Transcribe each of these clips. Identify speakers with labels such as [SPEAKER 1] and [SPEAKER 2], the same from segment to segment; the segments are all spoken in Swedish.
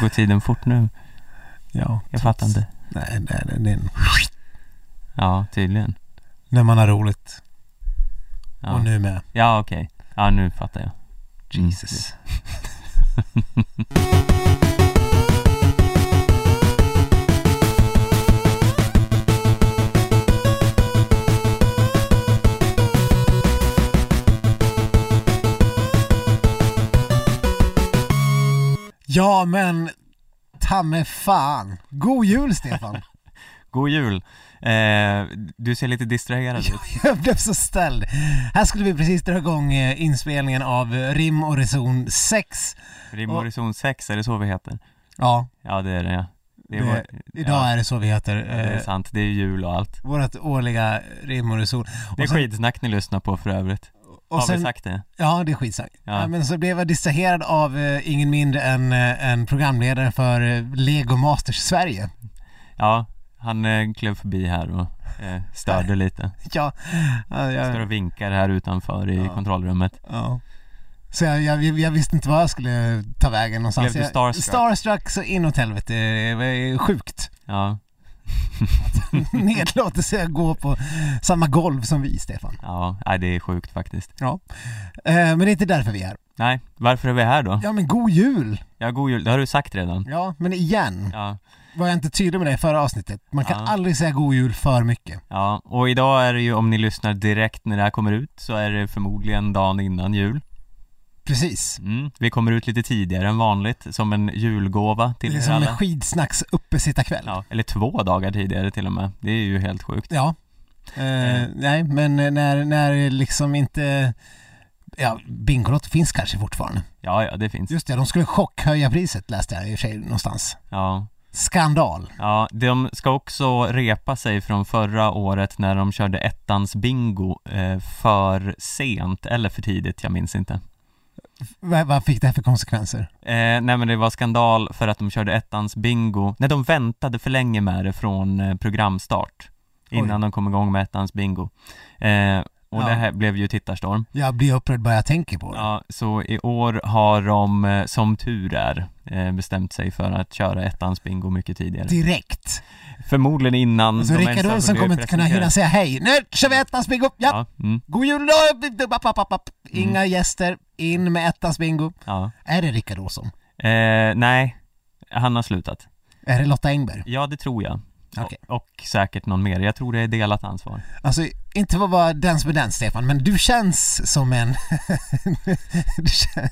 [SPEAKER 1] Går tiden fort nu?
[SPEAKER 2] Ja,
[SPEAKER 1] Jag fattar inte.
[SPEAKER 2] Nej, nej, nej, det är en...
[SPEAKER 1] Ja, tydligen.
[SPEAKER 2] När man har roligt.
[SPEAKER 1] Ja,
[SPEAKER 2] Och nu med.
[SPEAKER 1] ja okej. Ja, nu fattar jag.
[SPEAKER 2] Jesus. Ja men, ta mig fan. God jul Stefan.
[SPEAKER 1] God jul! Eh, du ser lite distraherad ut.
[SPEAKER 2] Jag blev så ställd. Här skulle vi precis dra igång eh, inspelningen av eh, Rim och Reson 6.
[SPEAKER 1] Rim
[SPEAKER 2] Och-
[SPEAKER 1] och reson 6, är det så vi heter?
[SPEAKER 2] Ja,
[SPEAKER 1] Ja, det är det ja. Det är
[SPEAKER 2] Det-
[SPEAKER 1] vår-
[SPEAKER 2] idag
[SPEAKER 1] ja,
[SPEAKER 2] är det så vi heter.
[SPEAKER 1] det är
[SPEAKER 2] Eh,
[SPEAKER 1] sant. Det är jul och allt.
[SPEAKER 2] vårt årliga Rim och Reson.
[SPEAKER 1] Det är
[SPEAKER 2] och sen-
[SPEAKER 1] skidsnack ni lyssnar på för övrigt.
[SPEAKER 2] Och
[SPEAKER 1] Har vi
[SPEAKER 2] sen,
[SPEAKER 1] sagt det?
[SPEAKER 2] ja, det är skitsnack.
[SPEAKER 1] Ja.
[SPEAKER 2] Ja. Men så blev jag distraherad av eh, ingen mindre än eh, en programledare för eh, Lego Masters Sverige.
[SPEAKER 1] Ja, han eh, klev förbi här och eh, störde lite.
[SPEAKER 2] Ja, ja,
[SPEAKER 1] Står
[SPEAKER 2] jag,
[SPEAKER 1] och vinkar här utanför i
[SPEAKER 2] Ja.
[SPEAKER 1] kontrollrummet.
[SPEAKER 2] ja. Så jag, jag, jag visste inte vad jag skulle ta vägen någonstans.
[SPEAKER 1] Blev du starstruck?
[SPEAKER 2] Jag, starstruck så inåt helvete. Det var sjukt.
[SPEAKER 1] Ja,
[SPEAKER 2] nedlåtelse att gå på samma golv som vi, Stefan.
[SPEAKER 1] ja, nej, det är sjukt faktiskt.
[SPEAKER 2] Eh, men det är inte därför vi är här.
[SPEAKER 1] Nej, varför är vi här då?
[SPEAKER 2] Ja, men god jul!
[SPEAKER 1] Ja, god jul. Det har du sagt redan.
[SPEAKER 2] Ja, men igen,
[SPEAKER 1] Ja,
[SPEAKER 2] var jag inte tydlig med det i förra avsnittet. Man kan
[SPEAKER 1] Ja.
[SPEAKER 2] aldrig säga god jul för mycket.
[SPEAKER 1] ja, och idag är det ju om ni lyssnar direkt när det här kommer ut så är det förmodligen dagen innan jul.
[SPEAKER 2] Precis.
[SPEAKER 1] Mm. Vi kommer ut lite tidigare än vanligt som en julgåva till
[SPEAKER 2] det är
[SPEAKER 1] er
[SPEAKER 2] som en
[SPEAKER 1] alla.
[SPEAKER 2] skidsnacks uppesittarkväll. Ja.
[SPEAKER 1] Ja, eller två dagar tidigare till och med. Det är ju helt sjukt.
[SPEAKER 2] ja. Eh, nej, men när, när liksom inte... Ja, Bingolotto finns kanske fortfarande.
[SPEAKER 1] Ja, ja, det finns.
[SPEAKER 2] Just det, de skulle chockhöja priset läste jag i och för sig någonstans.
[SPEAKER 1] Ja.
[SPEAKER 2] Skandal.
[SPEAKER 1] Ja, de ska också repa sig från förra året när de körde ettans bingo eh, för sent eller för tidigt, jag minns inte.
[SPEAKER 2] V- vad fick det här för konsekvenser?
[SPEAKER 1] Eh, nej men det var skandal för att de körde ettans bingo, nej de väntade för länge med det från eh, programstart innan de kom igång med ettans bingo. Eh, och
[SPEAKER 2] Ja.
[SPEAKER 1] det här blev ju tittarstorm.
[SPEAKER 2] Jag blir upprörd bara jag tänker på det.
[SPEAKER 1] Ja, så i år har de, eh, som tur är, eh, bestämt sig för att köra ettans bingo mycket tidigare.
[SPEAKER 2] Direkt.
[SPEAKER 1] Mm, Förmodligen innan
[SPEAKER 2] Så Alltså, Rickard
[SPEAKER 1] ens har
[SPEAKER 2] Olsson
[SPEAKER 1] blivit
[SPEAKER 2] kommer inte kunna hinna
[SPEAKER 1] presenterade.
[SPEAKER 2] säga hej. Nu kör vi ettans bingo! Ja.
[SPEAKER 1] Ja, mm,
[SPEAKER 2] God jul då! App, app, app, app. Inga gäster, in med ettans bingo.
[SPEAKER 1] ja.
[SPEAKER 2] Är det Rickard Olsson?
[SPEAKER 1] Eh, nej, han har slutat.
[SPEAKER 2] Är det Lotta Engberg?
[SPEAKER 1] Ja, det tror jag.
[SPEAKER 2] Okej.
[SPEAKER 1] Och, och säkert någon mer. Jag tror det är delat ansvar.
[SPEAKER 2] Alltså, inte för att vara den som är den Stefan, men du känns som en... du kän...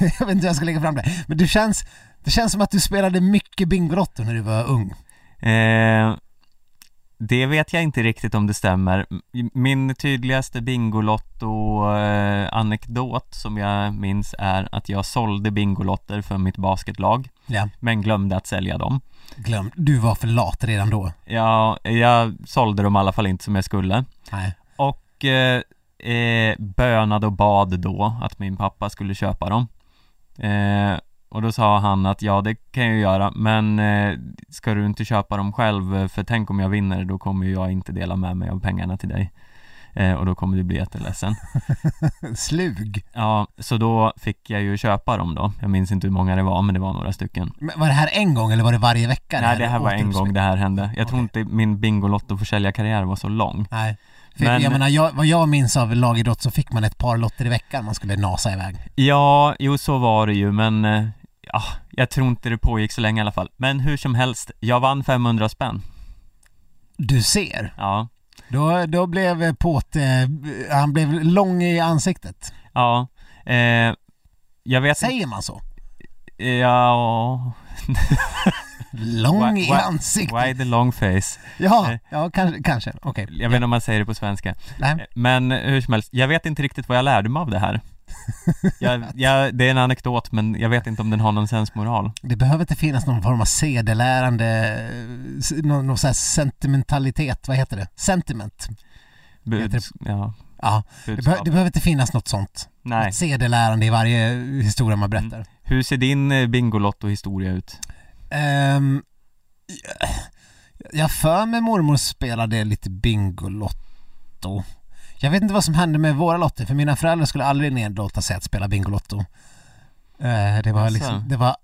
[SPEAKER 2] jag vet inte hur jag ska lägga fram det, men du känns... Det känns som att du spelade mycket Bingolotto när du var ung.
[SPEAKER 1] Eh, det vet jag inte riktigt om det stämmer. M- Min tydligaste Bingolotto-anekdot som jag minns är att jag sålde Bingolotter för mitt basketlag,
[SPEAKER 2] Ja,
[SPEAKER 1] men glömde att sälja dem.
[SPEAKER 2] glöm. Du var för lat redan då.
[SPEAKER 1] Jag, jag sålde dem i alla fall inte som jag skulle.
[SPEAKER 2] Nej.
[SPEAKER 1] Och eh, eh, bönade och bad då att min pappa skulle köpa dem eh, Och då sa han att ja det kan jag ju göra men eh, ska du inte köpa dem själv för tänk om jag vinner då kommer ju jag inte dela med mig av pengarna till dig eh, Och då kommer du bli jätteledsen
[SPEAKER 2] Slug.
[SPEAKER 1] Ja, så då fick jag ju köpa dem då Jag minns inte hur många det var men det var några stycken
[SPEAKER 2] Men var det här en gång eller var det varje vecka?
[SPEAKER 1] Nej det här var en gång det här hände Jag tror
[SPEAKER 2] Okej.
[SPEAKER 1] inte min Bingolotto-försäljarkarriär var så lång
[SPEAKER 2] Nej. För
[SPEAKER 1] Men-
[SPEAKER 2] jag menar, jag, vad jag minns av lagidrott så fick man ett par lotter i veckan man skulle nasa iväg.
[SPEAKER 1] Ja, jo så var det ju men eh, ja, jag tror inte det pågick så länge i alla fall. Men hur som helst, jag vann 500 spänn.
[SPEAKER 2] Du ser.
[SPEAKER 1] Ja,
[SPEAKER 2] Då, då blev Påte, eh, han blev lång i ansiktet.
[SPEAKER 1] ja. Eh, jag vet
[SPEAKER 2] Säger man så?
[SPEAKER 1] inte- Ja,
[SPEAKER 2] Lång
[SPEAKER 1] Why-
[SPEAKER 2] i
[SPEAKER 1] why-
[SPEAKER 2] ansiktet?
[SPEAKER 1] why the long face?
[SPEAKER 2] Ja,
[SPEAKER 1] eh.
[SPEAKER 2] ja kanske, kanske. okej.
[SPEAKER 1] Jag vet inte om man säger det på svenska.
[SPEAKER 2] Nej.
[SPEAKER 1] Men eh, hur som helst, jag vet inte riktigt vad jag lärde mig av det här. Jag, jag, det är en anekdot men jag vet inte om den har någon sensmoral.
[SPEAKER 2] Det behöver inte finnas någon form av sedelärande, eh, s- någon, någon sån här sentimentalitet, vad heter det? Sentiment. Heter
[SPEAKER 1] Buds, ja,
[SPEAKER 2] Ja, det,
[SPEAKER 1] budskap.
[SPEAKER 2] be- det behöver inte finnas något sånt.
[SPEAKER 1] Nej.
[SPEAKER 2] Sedelärande i varje historia man berättar.
[SPEAKER 1] Hur ser din eh, Bingolotto-historia ut?
[SPEAKER 2] Ehm, jag för mig mormor spelade lite Bingolotto. Jag vet inte vad som hände med våra lotter för mina föräldrar skulle aldrig nedlåta sig att spela Bingolotto. Eh, det var
[SPEAKER 1] Jaså?
[SPEAKER 2] liksom, det var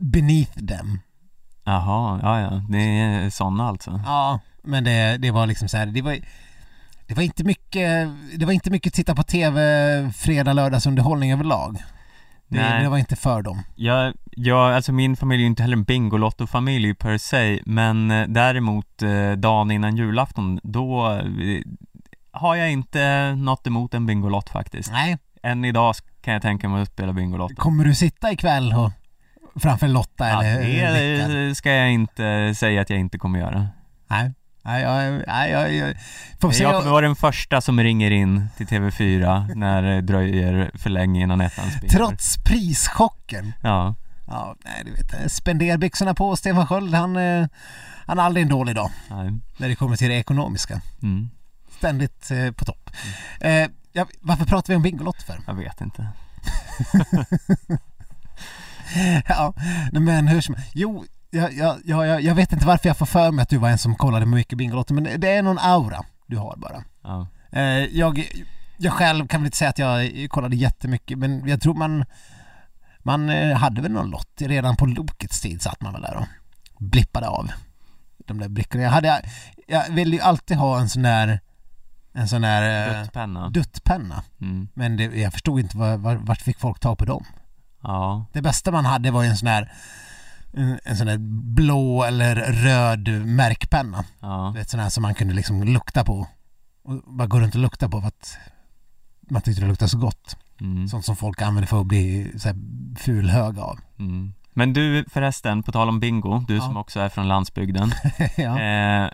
[SPEAKER 2] Beneath them.
[SPEAKER 1] Jaha, ja ja. Det är sådana alltså.
[SPEAKER 2] Ja, men det, det var liksom så här, det var det var inte mycket, det var inte mycket titta på TV fredag, lördags underhållning överlag. Det,
[SPEAKER 1] Nej.
[SPEAKER 2] det var inte för dem.
[SPEAKER 1] Jag, jag, alltså min familj är ju inte heller en Bingolotto-familj per se, men eh, däremot eh, dagen innan julafton, då eh, har jag inte något emot en Bingolott faktiskt.
[SPEAKER 2] Nej,
[SPEAKER 1] Än idag kan jag tänka mig att spela Bingolotto.
[SPEAKER 2] kommer du sitta ikväll och framför Lotta
[SPEAKER 1] Ja,
[SPEAKER 2] eller
[SPEAKER 1] det
[SPEAKER 2] Rickard?
[SPEAKER 1] eh, ska jag inte säga att jag inte kommer göra.
[SPEAKER 2] Nej. Nej, jag, nej, jag, jag får vi se.
[SPEAKER 1] Jag kommer vara den första som ringer in till TV4 när det dröjer för länge innan ettan spelar.
[SPEAKER 2] Trots prischocken.
[SPEAKER 1] Ja.
[SPEAKER 2] Ja, nej du vet, eh, spenderbyxorna på Stefan Sköld, han, eh, han har aldrig en dålig dag
[SPEAKER 1] Nej.
[SPEAKER 2] när det kommer till det ekonomiska.
[SPEAKER 1] Mm.
[SPEAKER 2] Ständigt eh, på topp. Eh, ja, varför pratar vi om Bingolotto för?
[SPEAKER 1] Jag vet inte.
[SPEAKER 2] ja, nej, men hur som Jo, jag, jag, jag, jag- jag vet inte varför jag får för mig att du var en som kollade mycket Bingolotto, men det- det är någon aura du har bara.
[SPEAKER 1] Ja.
[SPEAKER 2] Eh, jag, jag själv kan väl inte säga att jag kollade jättemycket, men jag tror man man eh, hade väl någon lott redan på Lokets tid satt man väl där och blippade av de där brickorna. Jag, hade, jag ville ju alltid ha en sån där en sån där eh,
[SPEAKER 1] Duttpenna.
[SPEAKER 2] duttpenna,
[SPEAKER 1] Mm.
[SPEAKER 2] men det, jag förstod inte var, var, vart fick folk tag på dem.
[SPEAKER 1] Ja.
[SPEAKER 2] Det bästa man hade var ju en sån här en- en sån här blå eller röd märkpenna.
[SPEAKER 1] Ja.
[SPEAKER 2] Du vet sån här som man kunde liksom lukta på. Och bara gå runt och lukta på för att man tyckte det luktade så gott.
[SPEAKER 1] Mm.
[SPEAKER 2] Sånt som folk använder för att bli så här fulhöga av.
[SPEAKER 1] Mm. Men du förresten, på tal om bingo, du
[SPEAKER 2] Ja.
[SPEAKER 1] som också är från landsbygden.
[SPEAKER 2] ja.
[SPEAKER 1] eh,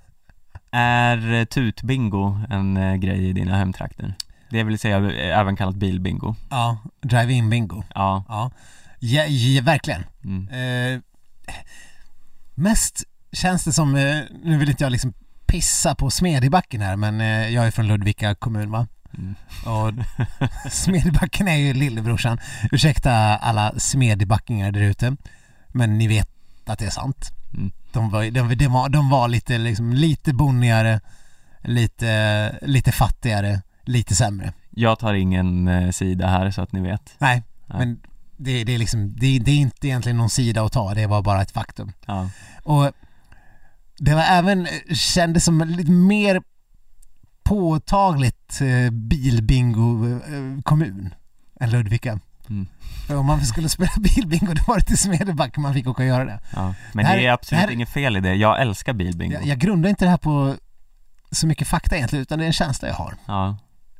[SPEAKER 1] är tutbingo en eh, grej i dina hemtrakter? Det vill säga eh, även kallat bilbingo.
[SPEAKER 2] ja, drive-in bingo.
[SPEAKER 1] Ja.
[SPEAKER 2] Ja, ja, ja verkligen.
[SPEAKER 1] Mm.
[SPEAKER 2] Eh, mest känns det som, eh, nu vill inte jag liksom pissa på Smedjebacken här men eh, jag är från Ludvika kommun va?
[SPEAKER 1] Mm.
[SPEAKER 2] Och Smedjebacken är ju lillebrorsan. Ursäkta alla Smedjebackingar där ute. Men ni vet att det är sant.
[SPEAKER 1] Mm.
[SPEAKER 2] De, var, de, de, var, de var lite, liksom, lite bonnigare, lite, lite fattigare, lite sämre.
[SPEAKER 1] Jag tar ingen eh, sida här så att ni vet.
[SPEAKER 2] Nej,
[SPEAKER 1] Nej.
[SPEAKER 2] men det, det, är liksom, det, det är inte egentligen någon sida att ta, det var bara ett faktum.
[SPEAKER 1] Ja.
[SPEAKER 2] Och det var även, kändes som lite mer påtagligt eh, bilbingo-kommun än Ludvika.
[SPEAKER 1] Mm.
[SPEAKER 2] För om man skulle spela bilbingo då var det till Smedjebacken man fick åka och göra det.
[SPEAKER 1] Ja. Men
[SPEAKER 2] Det
[SPEAKER 1] det,
[SPEAKER 2] här-
[SPEAKER 1] är absolut
[SPEAKER 2] det här-
[SPEAKER 1] inget fel i det. Jag älskar bilbingo.
[SPEAKER 2] Jag, jag grundar inte det här på så mycket fakta egentligen utan det är en känsla jag har.
[SPEAKER 1] Ja.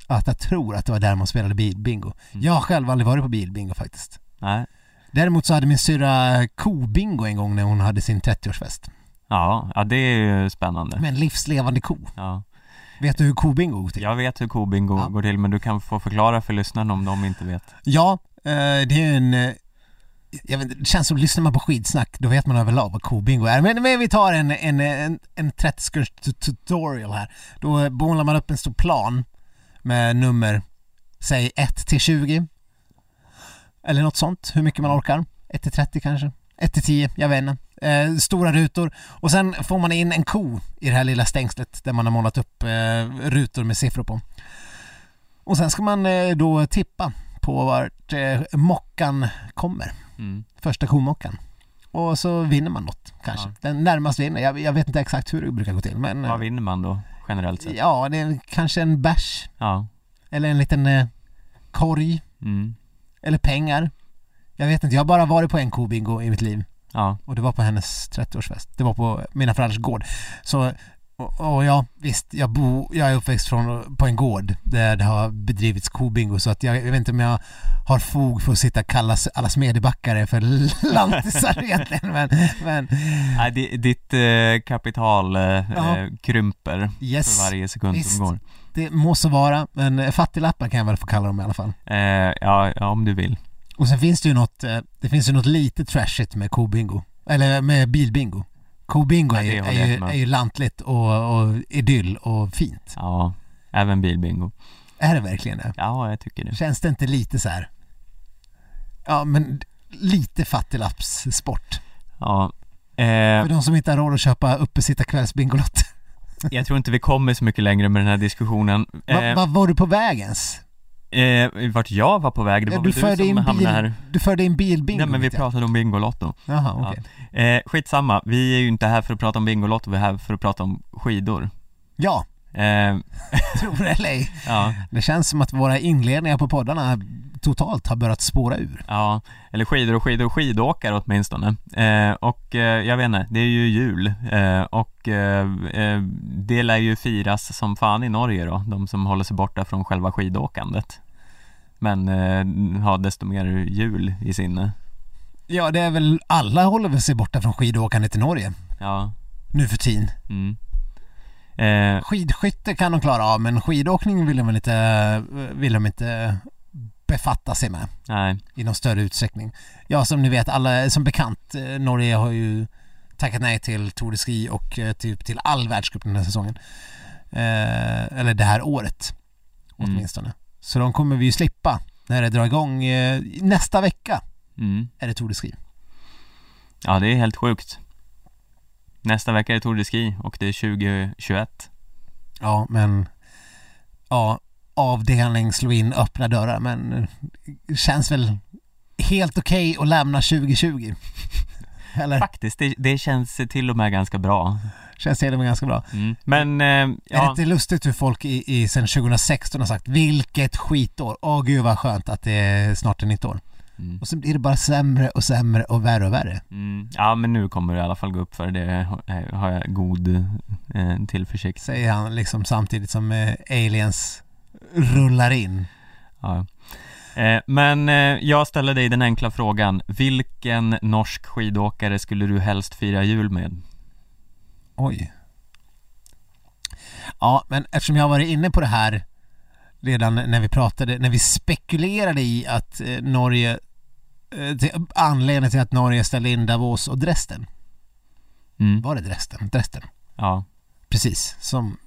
[SPEAKER 2] Att jag tror att det var där man spelade bilbingo.
[SPEAKER 1] Mm.
[SPEAKER 2] Jag har själv aldrig varit på bilbingo faktiskt.
[SPEAKER 1] Nej.
[SPEAKER 2] Däremot så hade min syrra kobingo en gång när hon hade sin 30-årsfest.
[SPEAKER 1] Mm. Ja. ja, det är ju spännande.
[SPEAKER 2] Med en livslevande ko.
[SPEAKER 1] Ja.
[SPEAKER 2] Vet du hur kobingo går till?
[SPEAKER 1] Jag vet hur kobingo
[SPEAKER 2] Ja.
[SPEAKER 1] går till men du kan få förklara för lyssnarna om de inte vet.
[SPEAKER 2] Ja, eh, det är ju en... eh, Jag vet, inte, det känns som, lyssnar man på skidsnack då vet man överlag vad kobingo är. Men, men vi tar en, en, en, en 30 tutorial här. Då målar man upp en stor plan med nummer, säg 1 till 20. Eller något sånt, hur mycket man orkar. 1 till 30 kanske. 1 till 10, jag vet inte. Eh, stora rutor och sen får man in en ko i det här lilla stängslet där man har målat upp eh, rutor med siffror på. Och sen ska man eh, då tippa på vart eh, mockan kommer,
[SPEAKER 1] Mm.
[SPEAKER 2] första komockan. Och så vinner man något kanske.
[SPEAKER 1] Ja.
[SPEAKER 2] Den närmast vinner, jag, jag vet inte exakt hur det brukar gå till men...
[SPEAKER 1] Vad vinner man då, generellt sett?
[SPEAKER 2] ja, det är kanske en bärs
[SPEAKER 1] Ja.
[SPEAKER 2] eller en liten eh, korg
[SPEAKER 1] Mm.
[SPEAKER 2] eller pengar. Jag vet inte, jag har bara varit på en kobingo i mitt liv
[SPEAKER 1] Ja.
[SPEAKER 2] och det var på hennes 30-årsfest. Det var på mina föräldrars gård. Så, och, och ja, visst, jag, bo, jag är uppväxt från, på en gård där det har bedrivits kobingo så att jag, jag vet inte om jag har fog för att sitta och kalla s- alla smedjebackare för lantisar egentligen men, men
[SPEAKER 1] Nej, di- ditt eh, kapital eh,
[SPEAKER 2] Ja.
[SPEAKER 1] eh, krymper
[SPEAKER 2] yes,
[SPEAKER 1] för varje sekund
[SPEAKER 2] visst.
[SPEAKER 1] som går.
[SPEAKER 2] det må så vara men eh, fattiglappar kan jag väl få kalla dem i alla fall.
[SPEAKER 1] Eh, ja, ja, om du vill.
[SPEAKER 2] Och sen finns det ju något, eh, det finns ju något lite trashigt med kobingo. Eller med bilbingo. Kobingo
[SPEAKER 1] Ja,
[SPEAKER 2] är, ju-
[SPEAKER 1] det håller
[SPEAKER 2] är,
[SPEAKER 1] jag
[SPEAKER 2] ju,
[SPEAKER 1] med om.
[SPEAKER 2] är ju lantligt och, och idyll och fint.
[SPEAKER 1] Ja, även bilbingo.
[SPEAKER 2] Är det verkligen det?
[SPEAKER 1] Ja, jag tycker det.
[SPEAKER 2] Känns det inte lite så här? Ja, men lite fattiglappssport.
[SPEAKER 1] Ja. Eh,
[SPEAKER 2] För de som inte har råd att köpa uppesittarkvällsbingolott.
[SPEAKER 1] jag tror inte vi kommer så mycket längre med den här diskussionen.
[SPEAKER 2] Vad
[SPEAKER 1] Eh,
[SPEAKER 2] va, var du på väg ens?
[SPEAKER 1] Eh, vart jag var på väg, det
[SPEAKER 2] Ja,
[SPEAKER 1] var
[SPEAKER 2] du,
[SPEAKER 1] väl
[SPEAKER 2] förde
[SPEAKER 1] du som
[SPEAKER 2] in
[SPEAKER 1] hamnade
[SPEAKER 2] bil,
[SPEAKER 1] här.
[SPEAKER 2] du förde in bilbingo.
[SPEAKER 1] Nej men vi
[SPEAKER 2] vet jag.
[SPEAKER 1] pratade om Bingolotto.
[SPEAKER 2] Jaha, okej.
[SPEAKER 1] Eh, skitsamma, vi är ju inte här för att prata om Bingolotto, vi är här för att prata om skidor.
[SPEAKER 2] Ja,
[SPEAKER 1] Eh,
[SPEAKER 2] tror det eller ej.
[SPEAKER 1] ja,
[SPEAKER 2] Det känns som att våra inledningar på poddarna totalt har börjat spåra ur.
[SPEAKER 1] ja, eller skidor och skidor och skidåkare åtminstone. Eh, och eh, jag vet inte, det är ju jul eh, och eh, eh, det lär ju firas som fan i Norge då, de som håller sig borta från själva skidåkandet. Men eh, har desto mer jul i sinne.
[SPEAKER 2] Ja, det är väl alla håller väl sig borta från skidåkandet i Norge
[SPEAKER 1] Ja,
[SPEAKER 2] nu för tiden.
[SPEAKER 1] mm. Eh,
[SPEAKER 2] Skidskytte kan de klara av, men skidåkning vill de väl inte, vill de inte befatta sig med
[SPEAKER 1] nej,
[SPEAKER 2] i någon större utsträckning. Ja, som ni vet, alla, som bekant, eh, Norge har ju tackat nej till Tour de Ski och eh, typ till all världscup den här säsongen. Eh, eller det här året,
[SPEAKER 1] Mm.
[SPEAKER 2] åtminstone. Så de kommer vi ju slippa när det drar igång. Eh, nästa vecka
[SPEAKER 1] mm.
[SPEAKER 2] är det Tour de Ski.
[SPEAKER 1] Ja, det är helt sjukt. Nästa vecka är Tour de Ski och det är 2021.
[SPEAKER 2] Ja, men ja, avdelning slå in öppna dörrar, men det känns väl helt okej att lämna 2020. Eller
[SPEAKER 1] Faktiskt, det, det känns till och med ganska bra.
[SPEAKER 2] känns det med ganska bra.
[SPEAKER 1] Mm. Men, eh,
[SPEAKER 2] Är det
[SPEAKER 1] ja,
[SPEAKER 2] inte lustigt hur folk i, i sen 2016 har sagt vilket skitår, åh gud vad skönt att det är snart ett nytt år.
[SPEAKER 1] mm.
[SPEAKER 2] Och så blir det bara sämre och sämre och värre och värre.
[SPEAKER 1] Mm. ja, men nu kommer det i alla fall gå upp för det har- har jag god eh, tillförsikt.
[SPEAKER 2] Säger han liksom samtidigt som eh, aliens rullar in.
[SPEAKER 1] Ja. Eh, men eh, jag ställer dig den enkla frågan. Vilken norsk skidåkare skulle du helst fira jul med?
[SPEAKER 2] Oj. Ja, men eftersom jag har varit inne på det här redan när vi pratade, när vi spekulerade i att eh, Norge, eh, till, anledningen till att Norge ställde in Davos och Dresden.
[SPEAKER 1] Mm.
[SPEAKER 2] Var det Dresden? Dresden.
[SPEAKER 1] Ja.
[SPEAKER 2] Precis, som,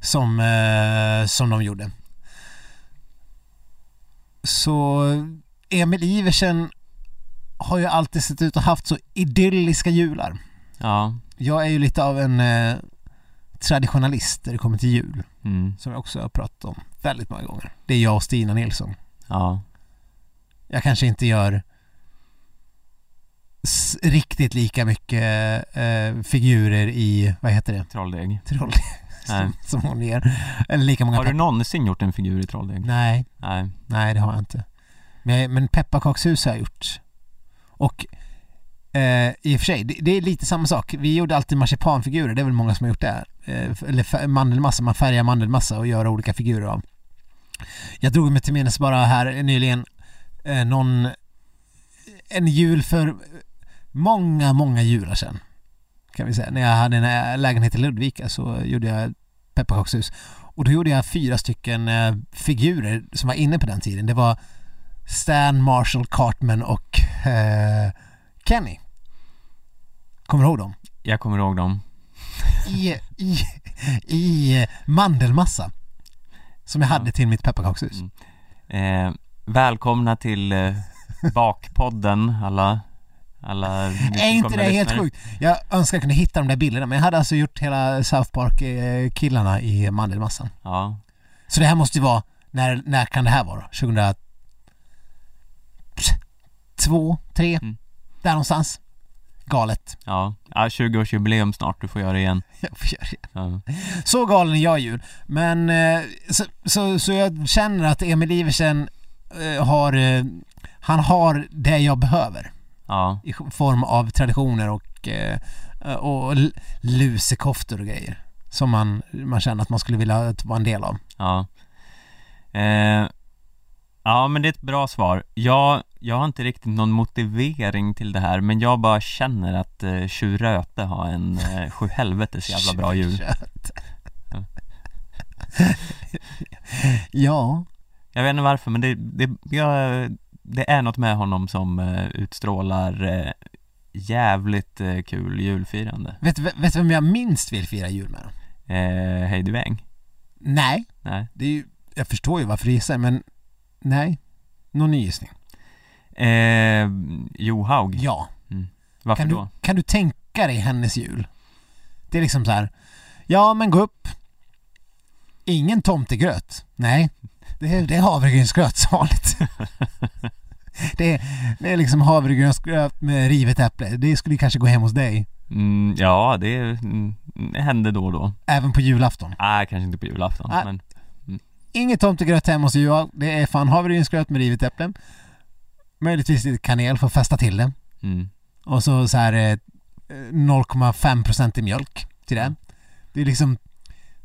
[SPEAKER 2] som, eh, som de gjorde. Så Emil Iversen har ju alltid sett ut och haft så idylliska jular.
[SPEAKER 1] Ja.
[SPEAKER 2] Jag är ju lite av en eh, traditionalist när det kommer till jul,
[SPEAKER 1] Mm.
[SPEAKER 2] som jag också har pratat om väldigt många gånger. Det är jag och Stina Nilsson.
[SPEAKER 1] Ja.
[SPEAKER 2] Jag kanske inte gör s- riktigt lika mycket eh, figurer i, vad heter det,
[SPEAKER 1] Trolldeg.
[SPEAKER 2] troll
[SPEAKER 1] Nej.
[SPEAKER 2] som, som hon gör. Eller lika många
[SPEAKER 1] Har du
[SPEAKER 2] pepp-
[SPEAKER 1] någonsin gjort en figur i Trolldeg?
[SPEAKER 2] Nej,
[SPEAKER 1] Nej.
[SPEAKER 2] nej det har jag inte. Men, jag- men pepparkakshus har jag gjort. Och eh, i och för sig, det, det är lite samma sak. Vi gjorde alltid marsipanfigurer, det är väl många som har gjort det. Eh, f- eller fär- mandelmassa, man färgar mandelmassa och gör olika figurer av. Jag drog mig till minnes bara här nyligen eh, någon, en jul för många, många jular sedan. Kan vi säga. När jag hade en eh, lägenhet i Ludvika så gjorde jag pepparkakshus. Och då gjorde jag fyra stycken eh, figurer som var inne på den tiden. Det var Stan, Marshall, Cartman och eh, Kenny. Kommer du ihåg dem?
[SPEAKER 1] Jag kommer ihåg dem.
[SPEAKER 2] I, i, i eh, mandelmassa. Som jag
[SPEAKER 1] Ja.
[SPEAKER 2] hade till mitt pepparkakshus.
[SPEAKER 1] Eh, välkomna till eh, Bakpodden, alla, alla
[SPEAKER 2] Är inte
[SPEAKER 1] Mm. nytillkomna
[SPEAKER 2] det helt
[SPEAKER 1] lyssnare.
[SPEAKER 2] sjukt? Jag önskar jag kunde hitta de där bilderna men jag hade alltså gjort hela South Park-killarna i mandelmassan.
[SPEAKER 1] Ja,
[SPEAKER 2] Så det här måste ju vara, när, när kan det här vara? 2002, 3
[SPEAKER 1] Mm.
[SPEAKER 2] Där någonstans. Galet.
[SPEAKER 1] ja. ja 20-årsjubileum snart, du får göra det igen.
[SPEAKER 2] Jag får göra det.
[SPEAKER 1] Ja.
[SPEAKER 2] Så galen är jag ju. Men eh, så, så, så jag känner att Emil Iversen eh, har, eh, han har det jag behöver
[SPEAKER 1] ja.
[SPEAKER 2] i form av traditioner och, eh, och l- lusekoftor och grejer. Som man, man känner att man skulle vilja att vara en del av.
[SPEAKER 1] Ja. Eh, ja, men det är ett bra svar. Jag, jag har inte riktigt någon motivering till det här, men jag bara känner att eh, Tjuröte har en eh, sjuhelvetes jävla bra jul.
[SPEAKER 2] Kött.
[SPEAKER 1] Ja.
[SPEAKER 2] ja.
[SPEAKER 1] Jag vet inte varför, men det, det, jag, det är något med honom som eh, utstrålar eh, jävligt eh, kul julfirande.
[SPEAKER 2] Vet, vet du vem jag minst vill fira jul med?
[SPEAKER 1] Eh, Heidi Weng?
[SPEAKER 2] Nej,
[SPEAKER 1] Nej.
[SPEAKER 2] det är ju, jag förstår ju varför du gissar men nej. Någon ny gissning?
[SPEAKER 1] Eh, Johaug?
[SPEAKER 2] Ja.
[SPEAKER 1] Varför
[SPEAKER 2] Kan du,
[SPEAKER 1] då?
[SPEAKER 2] kan du tänka dig hennes jul? Det är liksom så här. ja men gå upp. Ingen tomtegröt. Nej. Det är, det är havregrynsgröt som vanligt. det, är, det är liksom havregrynsgröt med rivet äpple. Det skulle kanske gå hem hos dig.
[SPEAKER 1] Mm, ja, det, är- mm, det händer då och då.
[SPEAKER 2] Även på julafton.
[SPEAKER 1] Nej, kanske inte på julafton,
[SPEAKER 2] Nej.
[SPEAKER 1] men
[SPEAKER 2] Inget tomtegröt hemma hos Johan. Det är fan havregrynsgröt med rivet äpple. Möjligtvis lite kanel för att fästa till det.
[SPEAKER 1] mm.
[SPEAKER 2] Och så, så här eh, 0,5% i mjölk till det. Det är liksom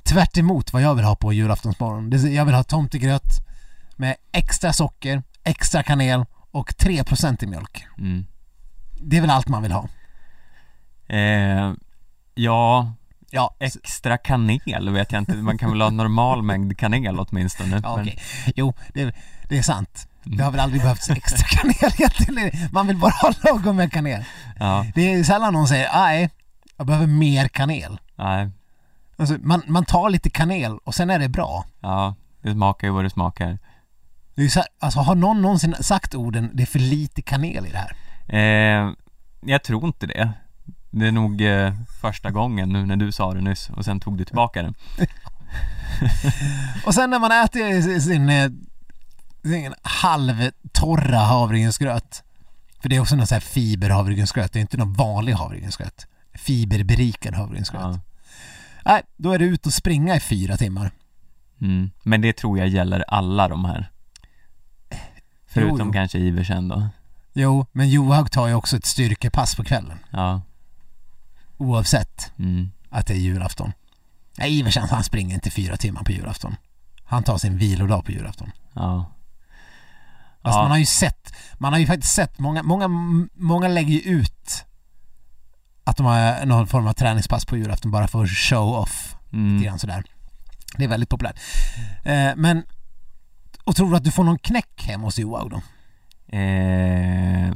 [SPEAKER 2] tvärt emot vad jag vill ha på julaftonsmorgon. Det är- Jag vill ha tomtegröt med extra socker, extra kanel och 3% i mjölk.
[SPEAKER 1] Mm.
[SPEAKER 2] Det är väl allt man vill ha.
[SPEAKER 1] Eh, ja,
[SPEAKER 2] Ja, s-
[SPEAKER 1] extra kanel vet jag inte. Man kan väl ha en normal mängd kanel åtminstone.
[SPEAKER 2] ja
[SPEAKER 1] men-
[SPEAKER 2] okej. Jo, det, det är sant. Det har väl aldrig behövts extra kanel egentligen. Man vill bara ha lagom med kanel.
[SPEAKER 1] ja,
[SPEAKER 2] Det är sällan någon säger nej, jag behöver mer kanel.
[SPEAKER 1] nej,
[SPEAKER 2] Alltså, man, man tar lite kanel och sen är det bra.
[SPEAKER 1] ja, det smakar ju vad det smakar.
[SPEAKER 2] Det är ju så, alltså, har någon någonsin sagt orden det är för lite kanel i det här?
[SPEAKER 1] Eh, jag tror inte det. Det är nog eh, första gången nu när du sa det nyss och sen tog du tillbaka den.
[SPEAKER 2] Och sen när man äter sin, sin, eh, sin halvtorra havregrynsgröt. För det är också någon sån här fiberhavregrynsgröt. Det är inte någon vanlig havregrynsgröt. Fiberberikad havregrynsgröt.
[SPEAKER 1] Ja.
[SPEAKER 2] Nej, då är det ut och springa i fyra timmar.
[SPEAKER 1] Mm. Men det tror jag gäller alla de här. Förutom
[SPEAKER 2] jo.
[SPEAKER 1] kanske Iversen då.
[SPEAKER 2] Jo, men Johaug tar ju också ett styrkepass på kvällen.
[SPEAKER 1] Ja.
[SPEAKER 2] Oavsett.
[SPEAKER 1] Mm.
[SPEAKER 2] att det är julafton. Nej, Iversen han springer inte fyra timmar på julafton. Han tar sin vilodag på julafton.
[SPEAKER 1] Ja.
[SPEAKER 2] Fast
[SPEAKER 1] ja.
[SPEAKER 2] man har ju sett, man har ju faktiskt sett, många, många, många lägger ju ut att de har någon form av träningspass på julafton bara för att show off. Lite
[SPEAKER 1] mm.
[SPEAKER 2] grann sådär. Det är väldigt populärt. Eh, men, och tror du att du får någon knäck hem hos Joao då?
[SPEAKER 1] eh,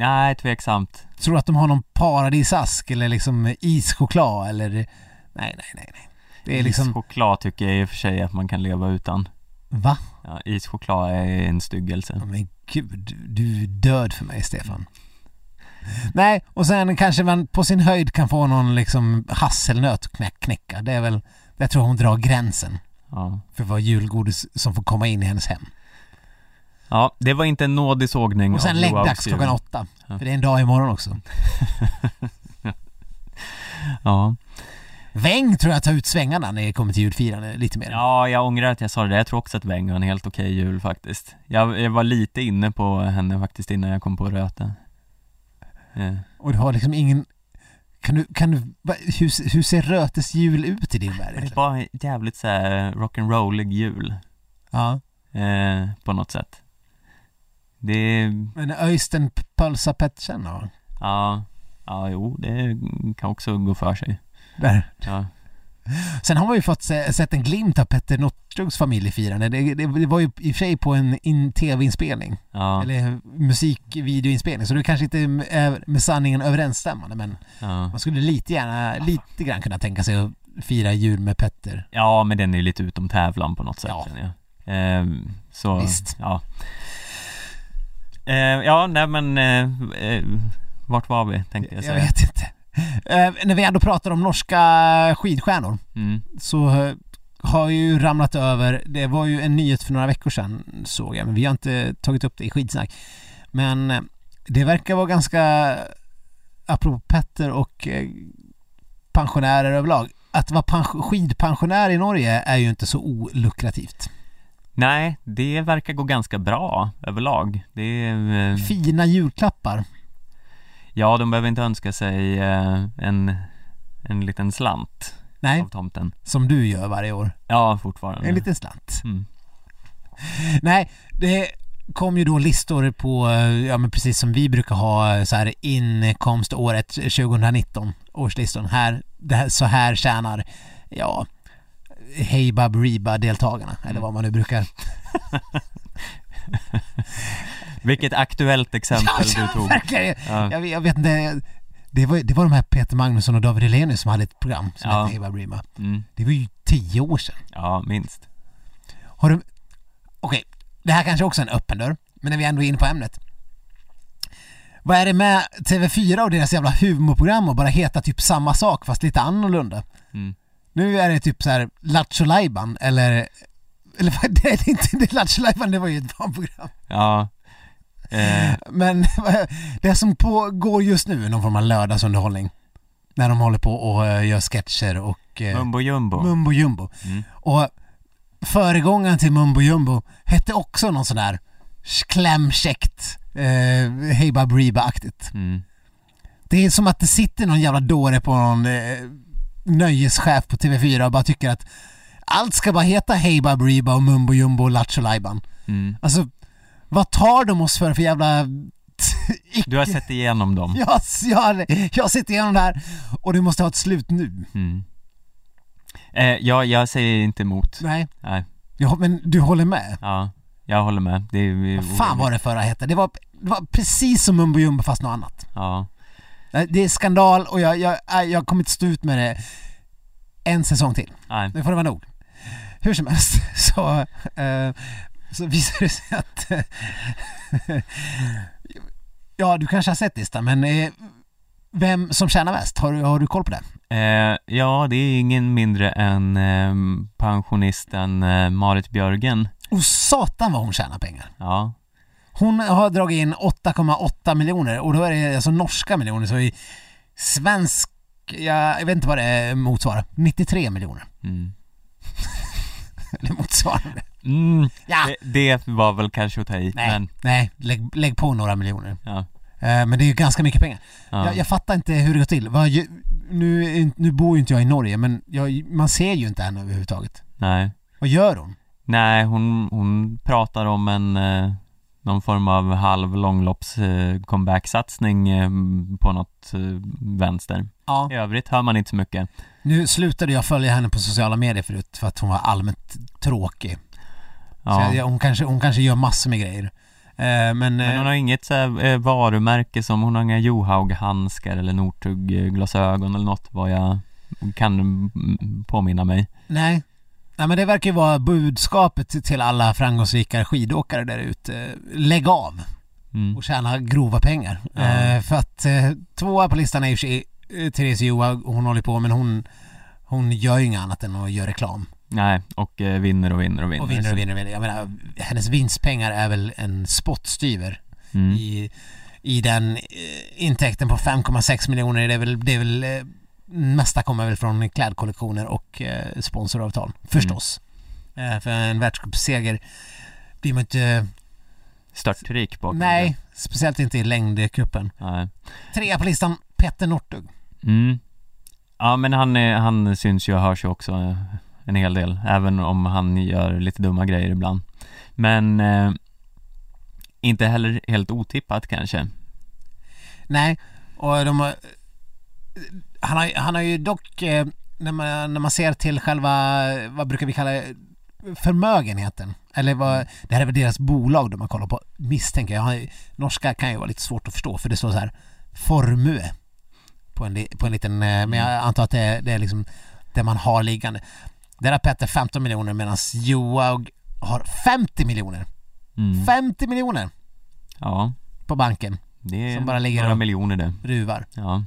[SPEAKER 1] Nej, tveksamt.
[SPEAKER 2] Tror du att de har någon paradisask eller liksom ischoklad eller? Nej, nej, nej, nej. Det är liksom,
[SPEAKER 1] Ischoklad tycker jag i och för sig att man kan leva utan.
[SPEAKER 2] va?
[SPEAKER 1] Ja, ischoklad är en styggelse.
[SPEAKER 2] Ja, men gud, du är död för mig Stefan. Nej, och sen kanske man på sin höjd kan få någon liksom hasselnöt att knä- knäcka. Det är väl, jag tror hon drar gränsen
[SPEAKER 1] Ja.
[SPEAKER 2] för vad julgodis som får komma in i hennes hem.
[SPEAKER 1] ja, det var inte en nådig sågning
[SPEAKER 2] Och sen
[SPEAKER 1] av Joakim.
[SPEAKER 2] läggdags klockan åtta.
[SPEAKER 1] Ja.
[SPEAKER 2] För det är en dag imorgon också.
[SPEAKER 1] Ja.
[SPEAKER 2] Väng tror jag tar ut svängarna när det kommer till julfirande lite mer.
[SPEAKER 1] ja, jag ångrar att jag sa det. Jag tror också att Weng har en helt okej jul faktiskt. Jag, jag var lite inne på henne faktiskt innan jag kom på Röta. Eh.
[SPEAKER 2] Och du har liksom ingen... Kan du, kan du, va- hur, hur ser Rötes jul ut i din värld?
[SPEAKER 1] Men det
[SPEAKER 2] egentligen?
[SPEAKER 1] var en jävligt så här rock'n'rollig jul
[SPEAKER 2] Ja.
[SPEAKER 1] eh, på något sätt. Det,
[SPEAKER 2] Men Öystein Pölsa Pettersen då?
[SPEAKER 1] ja, ja jo, det kan också gå för sig.
[SPEAKER 2] Där.
[SPEAKER 1] Ja,
[SPEAKER 2] Sen har man ju fått se, sett en glimt av Petter Northugs familjefirande. Det, det, det var ju i och för sig på en in, tv-inspelning,
[SPEAKER 1] ja,
[SPEAKER 2] eller musikvideoinspelning, så det kanske inte är med sanningen överensstämmande men
[SPEAKER 1] ja.
[SPEAKER 2] man skulle lite gärna, lite grann kunna tänka sig att fira jul med Petter.
[SPEAKER 1] ja men den är ju lite utom tävlan på något sätt
[SPEAKER 2] Ja.
[SPEAKER 1] känner jag. Eh, så,
[SPEAKER 2] Visst.
[SPEAKER 1] ja. Eh, ja, nej men, eh, eh, vart var vi tänkte jag
[SPEAKER 2] Jag,
[SPEAKER 1] säga.
[SPEAKER 2] vet inte. Eh, när vi ändå pratar om norska skidstjärnor
[SPEAKER 1] Mm,
[SPEAKER 2] så eh, har jag ju ramlat över, det var ju en nyhet för några veckor sedan såg jag, men vi har inte tagit upp det i skidsnack. Men eh, det verkar vara ganska, apropå Petter och eh, pensionärer överlag, att vara pens- skidpensionär i Norge är ju inte så olukrativt.
[SPEAKER 1] nej, det verkar gå ganska bra överlag. Det är, eh,
[SPEAKER 2] Fina julklappar.
[SPEAKER 1] Ja, de behöver inte önska sig eh, en, en liten slant
[SPEAKER 2] Nej,
[SPEAKER 1] av tomten.
[SPEAKER 2] som du gör varje år.
[SPEAKER 1] Ja, fortfarande.
[SPEAKER 2] En liten slant.
[SPEAKER 1] Mm.
[SPEAKER 2] Nej, det kom ju då listor på, eh, ja men precis som vi brukar ha eh, så här inkomståret 2019, årslistan. Här, det här, så här tjänar, ja, Hejbab Reba-deltagarna,
[SPEAKER 1] Mm.
[SPEAKER 2] eller vad man nu brukar.
[SPEAKER 1] Vilket aktuellt exempel du tog.
[SPEAKER 2] verkligen.
[SPEAKER 1] Ja.
[SPEAKER 2] Jag, vet- jag vet inte, det var, det var de här Peter Magnusson och David Hellenius som hade ett program som
[SPEAKER 1] Ja.
[SPEAKER 2] hette Hejbab Reba.
[SPEAKER 1] Mm.
[SPEAKER 2] Det var ju tio år sedan.
[SPEAKER 1] ja, minst.
[SPEAKER 2] Har du... Okej, det här kanske också är en öppen dörr, men när vi ändå är inne på ämnet. Vad är det med TV4 och deras jävla humorprogram och bara heta typ samma sak fast lite annorlunda?
[SPEAKER 1] Mm.
[SPEAKER 2] Nu är det typ så här Lattjo Lajban eller Eller vad, det är inte det är Lattjo Lajban, det var ju ett barnprogram.
[SPEAKER 1] Ja. Eh,
[SPEAKER 2] Men det som pågår just nu är någon form av lördagsunderhållning. När de håller på och eh, gör sketcher och eh,
[SPEAKER 1] mumbo jumbo.
[SPEAKER 2] mumbo jumbo.
[SPEAKER 1] Mm.
[SPEAKER 2] Och föregångaren till Mumbo Jumbo hette också någon sån där klämkäckt, eh, Hey Bab Reba-aktigt.
[SPEAKER 1] Mm.
[SPEAKER 2] Det är som att det sitter någon jävla dåre på någon eh, nöjeschef på TV4 och bara tycker att allt ska bara heta Hey Bab Reba och Mumbo Jumbo och Lattjo Lajban.
[SPEAKER 1] Mm.
[SPEAKER 2] Alltså, vad tar de oss för för jävla...
[SPEAKER 1] Du har sett igenom dem.
[SPEAKER 2] jag, jag, jag sitter igenom det här och det måste ha ett slut nu.
[SPEAKER 1] Mm. Eh, ja, jag säger inte emot.
[SPEAKER 2] Nej,
[SPEAKER 1] Nej.
[SPEAKER 2] ja, men du håller med?
[SPEAKER 1] Ja, jag håller med. Det är
[SPEAKER 2] Vad fan var det förra hette? Det var, det var precis som Mumbo Jumbo fast något annat.
[SPEAKER 1] Ja.
[SPEAKER 2] Nej, Eh, Det är skandal och jag, jag, nej, jag kommer inte stå ut med det en säsong till.
[SPEAKER 1] Nej.
[SPEAKER 2] Nu får det vara nog. Hur som helst så, eh, så visar det sig att... eh, ja, du kanske har sett listan men eh, vem som tjänar mest? Har, du- har du koll på det?
[SPEAKER 1] Eh, ja, det är ingen mindre än eh, pensionisten eh, Marit Björgen.
[SPEAKER 2] Och satan vad hon tjänar pengar!
[SPEAKER 1] Ja.
[SPEAKER 2] Hon har dragit in 8,8 miljoner och då är det alltså norska miljoner så i svensk, jag, jag vet inte vad det motsvarar, 93 miljoner.
[SPEAKER 1] Mm.
[SPEAKER 2] Eller motsvarar det?
[SPEAKER 1] Mm.
[SPEAKER 2] Ja!
[SPEAKER 1] Det, det var väl kanske att ta i,
[SPEAKER 2] Ah. Nej,
[SPEAKER 1] men
[SPEAKER 2] nej lägg, lägg på några miljoner.
[SPEAKER 1] ja.
[SPEAKER 2] Eh, men det är ju ganska mycket pengar.
[SPEAKER 1] ja.
[SPEAKER 2] Jag, jag fattar inte hur det går till. Vad, ju- nu, är inte- nu bor ju inte jag i Norge, men jag, man ser ju inte henne överhuvudtaget.
[SPEAKER 1] Nej.
[SPEAKER 2] Vad gör hon?
[SPEAKER 1] Nej, hon, hon pratar om en eh, någon form av halv långlopps eh, comeback-satsning eh, på något eh, vänster.
[SPEAKER 2] Ja.
[SPEAKER 1] I övrigt hör man inte så mycket.
[SPEAKER 2] Nu slutade jag följa henne på sociala medier förut för att hon var allmänt tråkig. Så
[SPEAKER 1] Ja.
[SPEAKER 2] jag, hon, kanske, hon kanske gör massor med grejer. Eh, men,
[SPEAKER 1] Men hon
[SPEAKER 2] eh,
[SPEAKER 1] har inget så här, eh, varumärke som, hon har inga Johaug-handskar eller Northug-glasögon eller något vad jag kan mm, påminna mig.
[SPEAKER 2] nej. nej, men det verkar ju vara budskapet till alla framgångsrika skidåkare där ute. Lägg av!
[SPEAKER 1] Mm.
[SPEAKER 2] och tjäna grova pengar.
[SPEAKER 1] Ja.
[SPEAKER 2] Eh, för att eh, tvåa på listan är ju tje- eh, Therese Johaug, hon håller på men hon, hon gör ju inget annat än att göra reklam.
[SPEAKER 1] Nej, och eh, vinner och vinner och vinner.
[SPEAKER 2] Och vinner
[SPEAKER 1] Så-
[SPEAKER 2] och vinner och vinner. Jag menar, hennes vinstpengar är väl en spottstyver
[SPEAKER 1] Mm.
[SPEAKER 2] i, i den eh, intäkten på 5,6 miljoner. Det är väl, det är väl eh, mesta kommer väl från klädkollektioner och eh,
[SPEAKER 1] Mm.
[SPEAKER 2] sponsoravtal, förstås. Eh, för en världscupseger blir man inte,
[SPEAKER 1] Störtrik bakom
[SPEAKER 2] nej, speciellt inte i längdcupen.
[SPEAKER 1] det. Nej.
[SPEAKER 2] Trea på listan, Petter Northug.
[SPEAKER 1] Mm. Ja, men han, är- han syns ju och hörs ju också eh, en hel del, även om han gör lite dumma grejer ibland. Men eh, inte heller helt otippat kanske.
[SPEAKER 2] Nej, och de har, han, har, han har ju dock, eh, när man, när man ser till själva, eh, vad brukar vi kalla det, förmögenheten, eller vad, det här är väl deras bolag de har kollat på, misstänker jag. Han- Norska kan ju vara lite svårt att förstå för det står så här Formue på en, li- på en liten, eh, men jag antar att det är, det är liksom det man har liggande. Där har Petter 15 miljoner medan Johaug har 50 miljoner.
[SPEAKER 1] Mm.
[SPEAKER 2] 50 miljoner
[SPEAKER 1] Ja,
[SPEAKER 2] på banken,
[SPEAKER 1] det är
[SPEAKER 2] Som bara ligger
[SPEAKER 1] några
[SPEAKER 2] och-
[SPEAKER 1] miljoner det.
[SPEAKER 2] ruvar.
[SPEAKER 1] Ja,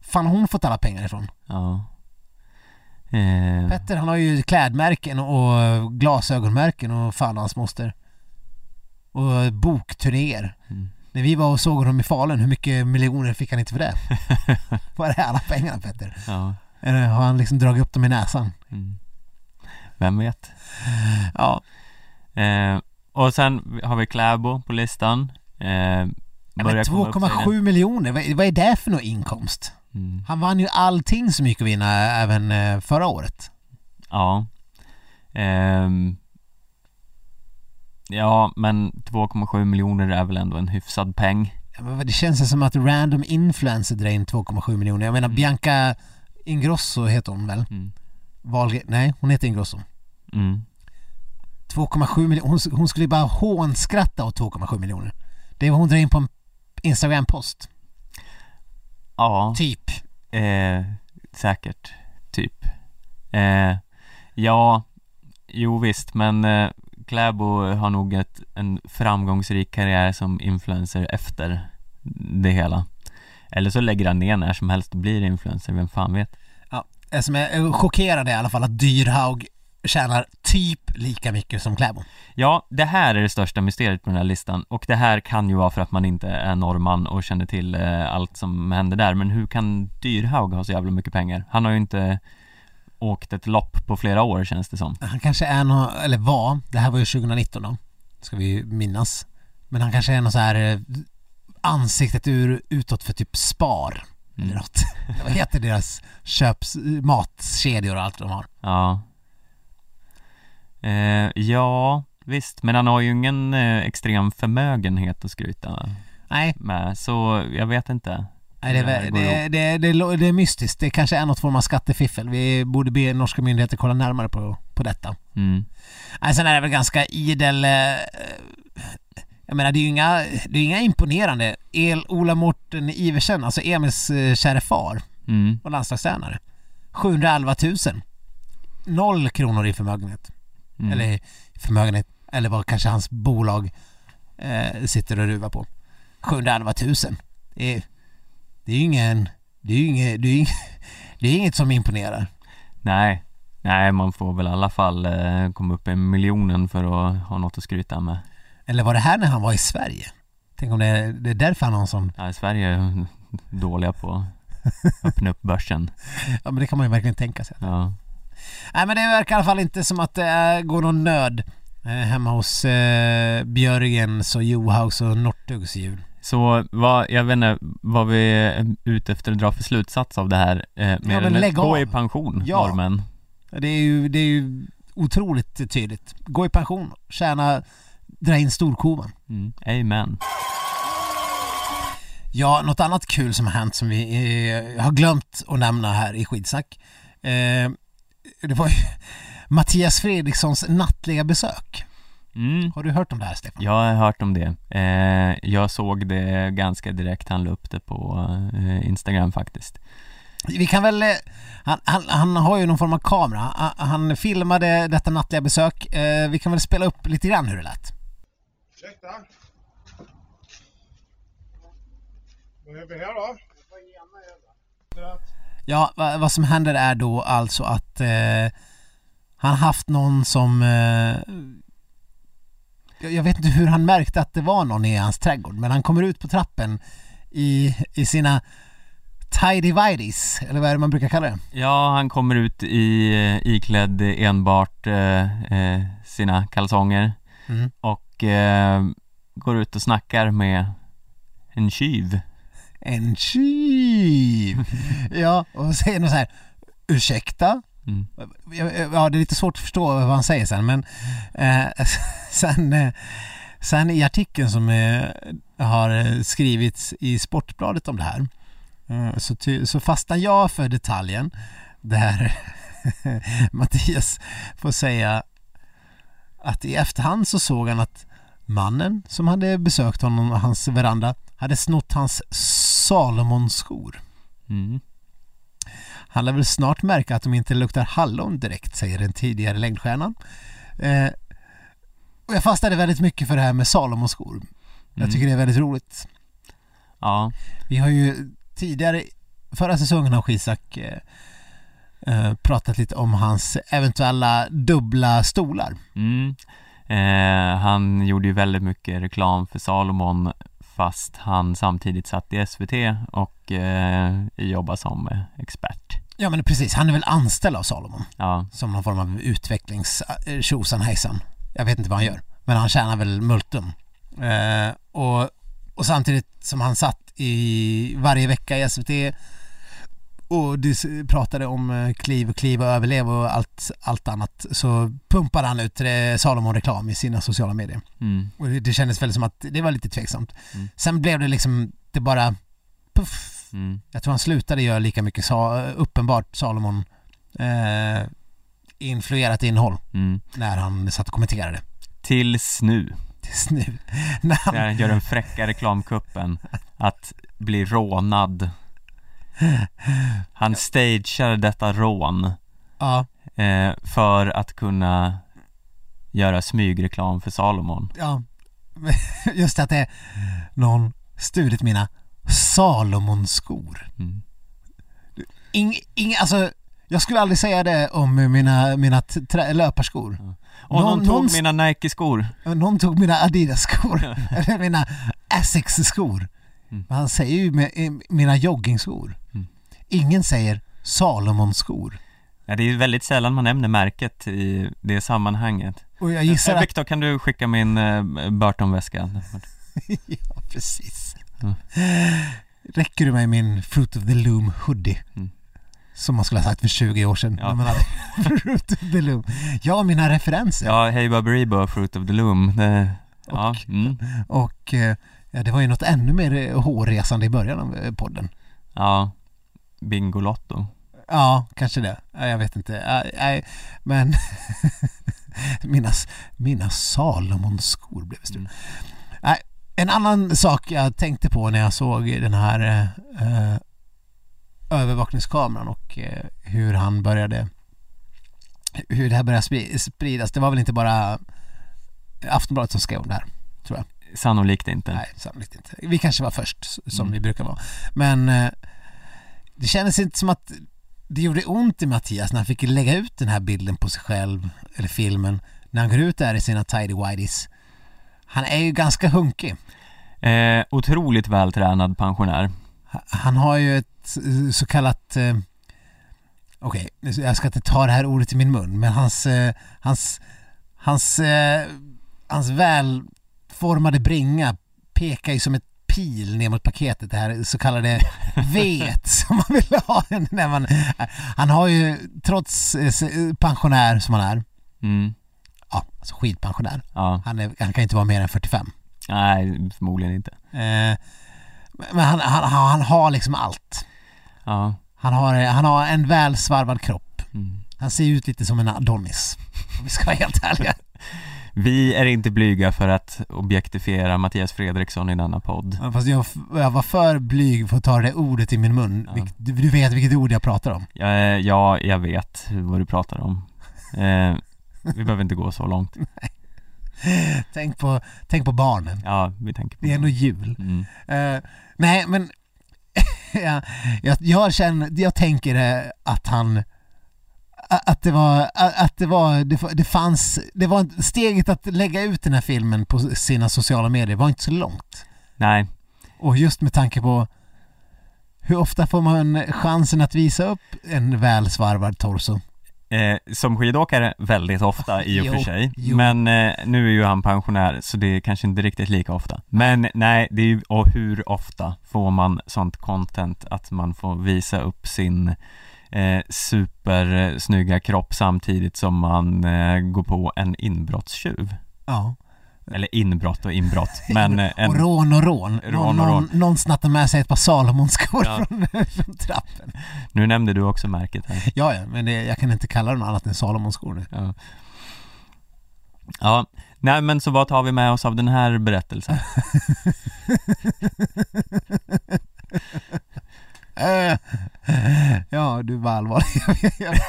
[SPEAKER 2] Fan har hon fått alla pengar ifrån?
[SPEAKER 1] ja. Eh,
[SPEAKER 2] Petter han har ju klädmärken och glasögonmärken och fan hans moster. Och bokturnéer.
[SPEAKER 1] Mm.
[SPEAKER 2] När vi var och såg honom i Falun, hur mycket miljoner fick han inte för det? Var är alla pengarna Petter?
[SPEAKER 1] ja.
[SPEAKER 2] Eller har han liksom dragit upp dem i näsan?
[SPEAKER 1] Mm. Vem vet?
[SPEAKER 2] Ja,
[SPEAKER 1] Eh, och sen har vi Kläbo på listan. Eh,
[SPEAKER 2] ja men
[SPEAKER 1] börjar komma upp sig nu.
[SPEAKER 2] 2,7 miljoner, vad, vad är det för någon inkomst?
[SPEAKER 1] Mm.
[SPEAKER 2] Han vann ju allting som gick att vinna även eh, förra året.
[SPEAKER 1] Ja. Ehm. ja, men 2,7 miljoner är väl ändå en hyfsad peng.
[SPEAKER 2] Ja, men vad- Det känns ju som att random influencer drar in 2,7 miljoner. Jag menar Bianca Ingrosso heter hon väl?
[SPEAKER 1] Mm.
[SPEAKER 2] Wahlgren, nej hon heter Ingrosso.
[SPEAKER 1] Mm.
[SPEAKER 2] 2,7 miljoner. Hon, hon skulle ju bara hånskratta åt 2,7 miljoner. Det är vad hon drar in på en Instagram-post.
[SPEAKER 1] Ja,
[SPEAKER 2] Typ.
[SPEAKER 1] eh, säkert. Typ. Eh, ja, jo visst, men eh, Kläbo har nog ett, en framgångsrik karriär som influencer efter det hela. Eller så lägger han ner när som
[SPEAKER 2] Eh,
[SPEAKER 1] helst och blir influencer, vem fan vet.
[SPEAKER 2] Som är chockerad är i alla fall att Dyrhaug tjänar typ lika mycket som Kläbo.
[SPEAKER 1] Ja, det här är det största mysteriet på den här listan och det här kan ju vara för att man inte är norrman och känner till eh, allt som hände där men hur kan Dyrhaug ha så jävla mycket pengar? Han har ju inte åkt ett lopp på flera år känns det som.
[SPEAKER 2] Han kanske är någon, eller var, det här var ju 2019 då, ska vi ju minnas. Men han kanske är någon så här eh, ansiktet ur utåt för typ Spar eller
[SPEAKER 1] Mm.
[SPEAKER 2] något. Vad heter deras köps, matkedjor och allt de har?
[SPEAKER 1] Ja. Eh, ja, visst, men han har ju ingen eh, extrem förmögenhet att skryta
[SPEAKER 2] Nej,
[SPEAKER 1] med så jag vet inte.
[SPEAKER 2] nej det, är,
[SPEAKER 1] Ja, det
[SPEAKER 2] väl-
[SPEAKER 1] går
[SPEAKER 2] det, det, det, lo- det är mystiskt. Det kanske är något form av skattefiffel. Vi borde be norska myndigheter kolla närmare på, på detta.
[SPEAKER 1] Mm.
[SPEAKER 2] Nej, sen är det väl ganska idel... eh, Jag menar, det är ju inga, det är inga imponerande. El-Ola Morten Iversen, alltså Emils eh, käre far
[SPEAKER 1] Mm.
[SPEAKER 2] och landslagstränare. 711 000. Noll kronor i förmögenhet.
[SPEAKER 1] Mm.
[SPEAKER 2] Eller i förmögenhet, eller vad kanske hans bolag eh, sitter och ruvar på. 711 000. Det är, det är ju ingen... Det är ju inget, det är ju inget, det är inget som imponerar.
[SPEAKER 1] Nej, nej man får väl i alla fall eh, komma upp i miljonen för att ha något att skryta med.
[SPEAKER 2] Eller var det här när han var i Sverige? Tänk om det är, det är därför han har en sån
[SPEAKER 1] Nej, Sverige är dåliga på att öppna upp börsen.
[SPEAKER 2] Ja men det kan man ju verkligen tänka sig.
[SPEAKER 1] Ja.
[SPEAKER 2] Nej men det verkar i alla fall inte som att det är, går någon nöd eh, hemma hos eh, Björgens och Johaus och Northugs jul.
[SPEAKER 1] Så vad, jag vet inte vad vi är ute efter att dra för slutsats av det här. Eh, mer
[SPEAKER 2] men
[SPEAKER 1] än
[SPEAKER 2] lägg
[SPEAKER 1] gå
[SPEAKER 2] av.
[SPEAKER 1] i pension,
[SPEAKER 2] Ja.
[SPEAKER 1] norrmän.
[SPEAKER 2] Det är ju, det är ju otroligt tydligt. Gå i pension, tjäna, dra in storkovan.
[SPEAKER 1] Mm. Amen.
[SPEAKER 2] Ja, något annat kul som har hänt som vi eh, har glömt att nämna här i skidsnack. Eh, det var ju Mattias Fredrikssons nattliga besök.
[SPEAKER 1] Mm.
[SPEAKER 2] Har du hört om det här Stefan?
[SPEAKER 1] Jag har hört om det. Eh, jag såg det ganska direkt, han la upp det på eh, Instagram faktiskt.
[SPEAKER 2] Vi kan väl... eh, Han, han, han har ju någon form av kamera. Han, han filmade detta nattliga besök. Eh, vi kan väl spela upp lite grann hur det lät.
[SPEAKER 3] Ursäkta? Vad gör vi här då? Det är att-
[SPEAKER 2] Ja, va, vad som händer är då alltså att eh, han haft någon som... Eh, jag, jag vet inte hur han märkte att det var någon i hans trädgård, men han kommer ut på trappen i, i sina tidy-vidies, eller vad är det man brukar kalla det?
[SPEAKER 1] Ja, han kommer ut i eh, iklädd enbart eh, eh, sina kalsonger
[SPEAKER 2] Mm.
[SPEAKER 1] och eh, går ut och snackar med en tjuv.
[SPEAKER 2] En tjuv! ja, och säger något så här Ursäkta?
[SPEAKER 1] Mm.
[SPEAKER 2] Ja, det är lite svårt att förstå vad han säger sen men eh, sen, eh, sen i artikeln som eh, har skrivits i Sportbladet om det här eh, så, ty, så fastnar jag för detaljen där Mattias får säga att i efterhand så såg han att mannen som hade besökt honom och hans veranda hade snott hans Salomonskor.
[SPEAKER 1] Mm.
[SPEAKER 2] Han lär väl snart märka att de inte luktar hallon direkt, säger den tidigare längdstjärnan. Eh, och jag fastnade väldigt mycket för det här med Salomonskor. Jag
[SPEAKER 1] Mm.
[SPEAKER 2] tycker det är väldigt roligt.
[SPEAKER 1] Ja,
[SPEAKER 2] Vi har ju tidigare, förra säsongen av Skisak eh, eh, pratat lite om hans eventuella dubbla stolar.
[SPEAKER 1] mm. Eh, han gjorde ju väldigt mycket reklam för Salomon fast han samtidigt satt i SVT och eh, jobbade som eh, expert.
[SPEAKER 2] Ja men precis, han är väl anställd av Salomon
[SPEAKER 1] Ja,
[SPEAKER 2] som någon form av utvecklings eh, tjosan hejsan. Jag vet inte vad han gör, men han tjänar väl multum. Eh, och, och samtidigt som han satt i varje vecka i SVT och dis- pratade om eh, kliv och kliv och överlev och allt, allt annat så pumpade han ut eh, Salomon-reklam i sina sociala medier.
[SPEAKER 1] mm.
[SPEAKER 2] Och det, det kändes väl som att det var lite tveksamt.
[SPEAKER 1] Mm.
[SPEAKER 2] Sen blev det liksom, det bara puff,
[SPEAKER 1] Mm.
[SPEAKER 2] jag tror han slutade göra lika mycket sa, uppenbart Salomon eh, influerat innehåll
[SPEAKER 1] Mm.
[SPEAKER 2] när han satt och kommenterade.
[SPEAKER 1] Tills nu.
[SPEAKER 2] Tills nu. När
[SPEAKER 1] Där
[SPEAKER 2] han,
[SPEAKER 1] han gör den fräcka reklamkuppen att bli rånad. Han stagear detta rån
[SPEAKER 2] ja,
[SPEAKER 1] eh, för att kunna göra smygreklam för Salomon.
[SPEAKER 2] ja. Just att det är någon stulit mina Salomonskor.
[SPEAKER 1] Mm.
[SPEAKER 2] Ing, ing, alltså, Jag skulle aldrig säga det om mina, mina t- trä- löparskor.
[SPEAKER 1] Och någon,
[SPEAKER 2] Någon-
[SPEAKER 1] tog
[SPEAKER 2] någon-
[SPEAKER 1] mina Nike-skor.
[SPEAKER 2] Någon tog mina Adidas-skor, eller mina Asics-skor. Men han säger ju med, eh, mina joggingskor. Ingen säger Salomon-skor.
[SPEAKER 1] Ja, det är ju väldigt sällan man nämner märket i det sammanhanget.
[SPEAKER 2] Och jag gissar
[SPEAKER 1] Eh,
[SPEAKER 2] att...
[SPEAKER 1] Viktor, kan du skicka min eh, Burton-väska?
[SPEAKER 2] ja, precis.
[SPEAKER 1] Mm.
[SPEAKER 2] Räcker du mig min Fruit of the Loom hoodie?
[SPEAKER 1] Mm.
[SPEAKER 2] Som man skulle ha sagt för 20 år sedan.
[SPEAKER 1] Ja.
[SPEAKER 2] när Man hade Fruit of the Loom. Ja, mina referenser.
[SPEAKER 1] Ja, Hey Baberibo, Fruit of the Loom. Det, ja, mm,
[SPEAKER 2] Och eh, ja, det var ju något ännu mer eh, hårresande i början av eh, podden.
[SPEAKER 1] ja. Bingolotto.
[SPEAKER 2] Ja, kanske det. Ja, Jag vet inte. Ja, nej, Men mina, mina Salomon-skor
[SPEAKER 1] Mm.
[SPEAKER 2] blev stulna. Nej, En annan sak jag tänkte på när jag såg den här eh, eh, övervakningskameran och eh, hur han började hur det här började spri- spridas. Det var väl inte bara Aftonbladet som skrev om det här?
[SPEAKER 1] Sannolikt inte.
[SPEAKER 2] Nej, sannolikt inte. Vi kanske var först, s- som vi brukar vara. Men eh, det kändes inte som att det gjorde ont i Mattias när han fick lägga ut den här bilden på sig själv, eller filmen, när han går ut där i sina tidy whities Han är ju ganska hunkig.
[SPEAKER 1] Eh, otroligt vältränad pensionär.
[SPEAKER 2] Ha- Han har ju ett eh, så kallat... eh, Okej, nu- jag ska inte ta det här ordet i min mun, men hans... eh, Hans... Hans, eh, hans välformade bringa pekar ju som ett pil ner mot paketet, det här så kallade V som man vill ha när man... Han har ju, trots eh, se- pensionär som han är,
[SPEAKER 1] Mm,
[SPEAKER 2] ja, alltså skidpensionär,
[SPEAKER 1] ja.
[SPEAKER 2] han, är, han kan ju inte vara mer än 45.
[SPEAKER 1] Nej, förmodligen inte.
[SPEAKER 2] Eh, men han, han, han har liksom allt.
[SPEAKER 1] Ja.
[SPEAKER 2] Han har, han har en väl svarvad kropp.
[SPEAKER 1] Mm.
[SPEAKER 2] Han ser ut lite som en Adonis. Om vi ska vara helt ärliga.
[SPEAKER 1] Vi är inte blyga för att objektifiera Mattias Fredriksson i denna podd.
[SPEAKER 2] Ja, Fast jag, jag var för blyg för att ta det ordet i min mun.
[SPEAKER 1] Ja.
[SPEAKER 2] Vilket- Du, du vet vilket ord jag pratar om.
[SPEAKER 1] Ja, eh, ja jag vet vad du pratar om. Eh, vi behöver inte gå så långt.
[SPEAKER 2] Tänk på, tänk på barnen.
[SPEAKER 1] Ja, vi tänker på
[SPEAKER 2] Det är ändå jul.
[SPEAKER 1] Mm.
[SPEAKER 2] Eh, nej, men jag, jag, jag, känner, jag tänker eh, att han a- att det var, a- att det var, det, fa- det fanns, det var ett- steget att lägga ut den här filmen på sina sociala medier var inte så långt.
[SPEAKER 1] Nej,
[SPEAKER 2] Och just med tanke på hur ofta får man chansen att visa upp en välsvarvad torso?
[SPEAKER 1] eh, som skidåkare väldigt ofta i och
[SPEAKER 2] Jo,
[SPEAKER 1] för sig.
[SPEAKER 2] jo.
[SPEAKER 1] Men eh, nu är ju han pensionär så det är kanske inte riktigt lika ofta. Men nej, det är ju, och hur ofta får man sånt content att man får visa upp sin eh, supersnygga kropp samtidigt som man eh, går på en inbrottstjuv.
[SPEAKER 2] Ja.
[SPEAKER 1] Eller inbrott och inbrott, men eh,
[SPEAKER 2] Och
[SPEAKER 1] en,
[SPEAKER 2] rån och rån.
[SPEAKER 1] Rån och
[SPEAKER 2] någon,
[SPEAKER 1] rån.
[SPEAKER 2] någon snattar med sig ett par Salomonskor
[SPEAKER 1] Ja.
[SPEAKER 2] från, från trappen.
[SPEAKER 1] nu nämnde du också märket här.
[SPEAKER 2] Ja, ja, men det, jag kan inte kalla dem annat än Salomonskor nu.
[SPEAKER 1] Ja. ja, nej men så vad tar vi med oss av den här berättelsen?
[SPEAKER 2] Eh, ja, du var allvarlig. Jag- jag-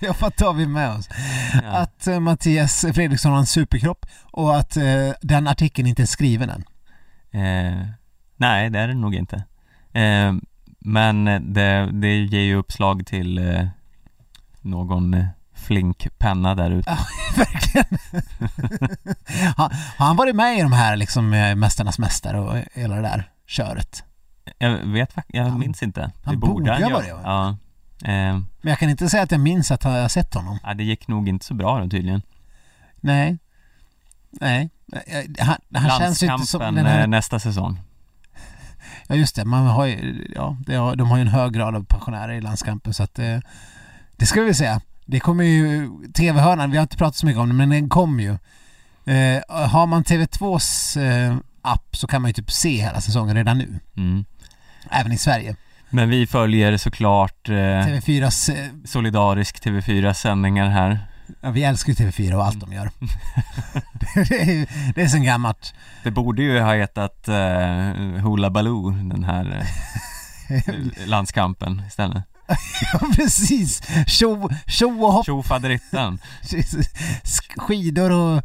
[SPEAKER 2] Ja, vad tar vi med oss?
[SPEAKER 1] Ja.
[SPEAKER 2] Att eh, Mattias Fredriksson har en superkropp och att eh, den artikeln inte är skriven än.
[SPEAKER 1] Eh, nej, det är det nog inte. Eh, men det, det ger ju uppslag till eh, någon eh, flink penna där ute.
[SPEAKER 2] Verkligen. har, har han varit med i de här liksom eh, Mästarnas Mästare och hela det där köret?
[SPEAKER 1] Jag vet fakt- jag
[SPEAKER 2] Han-
[SPEAKER 1] minns inte. Det
[SPEAKER 2] han borde ha
[SPEAKER 1] göra.
[SPEAKER 2] varit, va?
[SPEAKER 1] Ja. Eh,
[SPEAKER 2] Men jag kan inte säga att jag minns att jag har sett honom.
[SPEAKER 1] ja, det gick nog inte så bra då tydligen.
[SPEAKER 2] Nej. Nej. Eh, Han, han känns ju inte som
[SPEAKER 1] Landskampen
[SPEAKER 2] den
[SPEAKER 1] eh,
[SPEAKER 2] här...
[SPEAKER 1] nästa säsong.
[SPEAKER 2] Ja just det, man har ju, ja, det har, de har ju en hög grad av pensionärer i landskampen så att eh, det ska vi säga. Det kommer ju, TV-hörnan, vi har inte pratat så mycket om den men den kommer ju. Eh, har man TV2s eh, app så kan man ju typ se hela säsongen redan nu.
[SPEAKER 1] Mm.
[SPEAKER 2] Även i Sverige.
[SPEAKER 1] Men vi följer såklart eh,
[SPEAKER 2] TV4s eh,
[SPEAKER 1] solidarisk TV4 sändningar här.
[SPEAKER 2] Ja, vi älskar ju TV4 och allt de gör. det, är, ju- det är sen gammalt.
[SPEAKER 1] Det borde ju ha hetat eh, Hoola Baloo, den här eh, landskampen istället.
[SPEAKER 2] Precis! Tjo, tjo och hopp,
[SPEAKER 1] Tjofaderittan.
[SPEAKER 2] sk- skidor och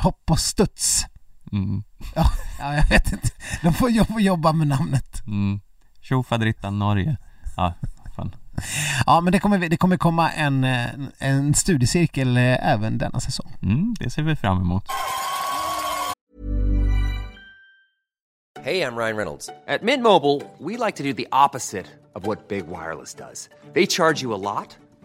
[SPEAKER 2] hopp och studs.
[SPEAKER 1] Mm.
[SPEAKER 2] Ja, jag vet inte. De får jobba, jobba med namnet.
[SPEAKER 1] Mm. Tjofaderittan Norge. Ja, fan.
[SPEAKER 2] Ja, men det kommer, vi- det kommer komma en, eh, en studiecirkel eh, även denna säsong.
[SPEAKER 1] Mm, det ser vi fram emot.
[SPEAKER 4] Hey, I'm Ryan Reynolds. At Mint Mobile, we like to do the opposite of what Big Wireless does. They charge you a lot,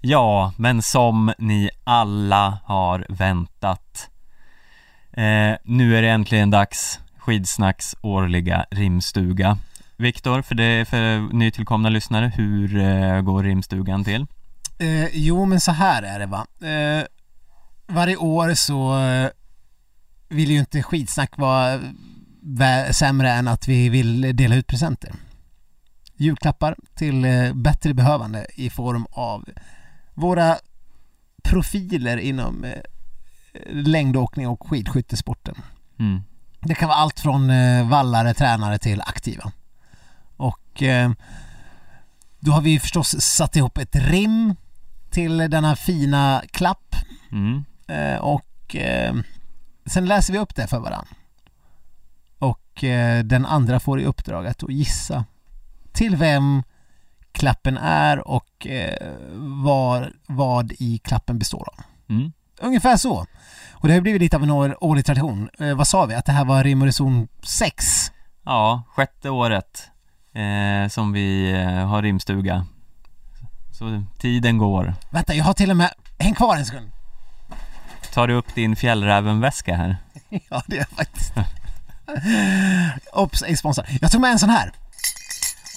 [SPEAKER 1] Ja, men som ni alla har väntat. Eh, nu är det äntligen dags. Skidsnacks årliga rimstuga. Viktor, för, det- för nytillkomna lyssnare, hur eh, går rimstugan till?
[SPEAKER 2] Eh, jo, men så här är det va. Eh, varje år så eh, vill ju inte skitsnack vara vä- sämre än att vi vill dela ut presenter. Julklappar till eh, bättre behövande i form av våra profiler inom eh, längdåkning och skidskyttesporten.
[SPEAKER 1] Mm.
[SPEAKER 2] Det kan vara allt från eh, vallare, tränare till aktiva. Och eh, då har vi förstås satt ihop ett rim till denna fina klapp
[SPEAKER 1] Mm.
[SPEAKER 2] eh, och eh, sen läser vi upp det för varandra. Och eh, den andra får i uppdrag att då gissa till vem klappen är och eh, var, vad i klappen består av.
[SPEAKER 1] Mm.
[SPEAKER 2] Ungefär så. Och det har ju blivit lite av en år- årlig tradition. Eh, vad sa vi? Att det här var rim och reson 6?
[SPEAKER 1] Ja, sjätte året eh, som vi eh, har rimstuga. Så tiden går.
[SPEAKER 2] Vänta, jag har till och med... Häng kvar en sekund.
[SPEAKER 1] Tar du upp din fjällrävenväska här?
[SPEAKER 2] Ja, det är jag faktiskt. Ops, ej sponsor. Jag tog med en sån här.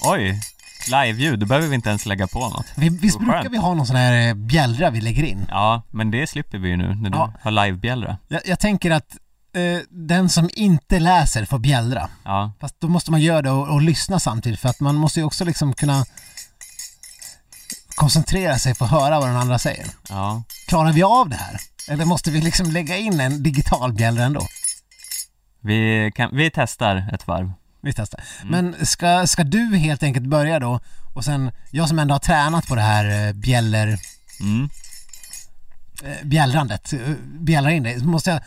[SPEAKER 1] Oj! Live-ljud, då behöver vi inte ens lägga på något.
[SPEAKER 2] Vi, visst
[SPEAKER 1] Vad
[SPEAKER 2] brukar
[SPEAKER 1] skönt.
[SPEAKER 2] vi ha någon sån här eh, bjällra vi lägger in?
[SPEAKER 1] Ja, men det slipper vi ju nu när du
[SPEAKER 2] Ja.
[SPEAKER 1] har live-bjällra.
[SPEAKER 2] Jag, jag tänker att eh, den som inte läser får bjällra.
[SPEAKER 1] Ja,
[SPEAKER 2] Fast då måste man göra det och, och lyssna samtidigt för att man måste ju också liksom kunna koncentrera sig på att höra vad den andra säger.
[SPEAKER 1] ja.
[SPEAKER 2] Klarar vi av det här? Eller måste vi liksom lägga in en digital bjällra ändå?
[SPEAKER 1] Vi, kan, vi testar ett varv.
[SPEAKER 2] Vi testar.
[SPEAKER 1] Mm.
[SPEAKER 2] Men ska, ska du helt enkelt börja då? Och sen, jag som ändå har tränat på det här eh, bjäller...
[SPEAKER 1] Mm.
[SPEAKER 2] eh, bjällrandet, eh, bjällrar in dig, så måste jag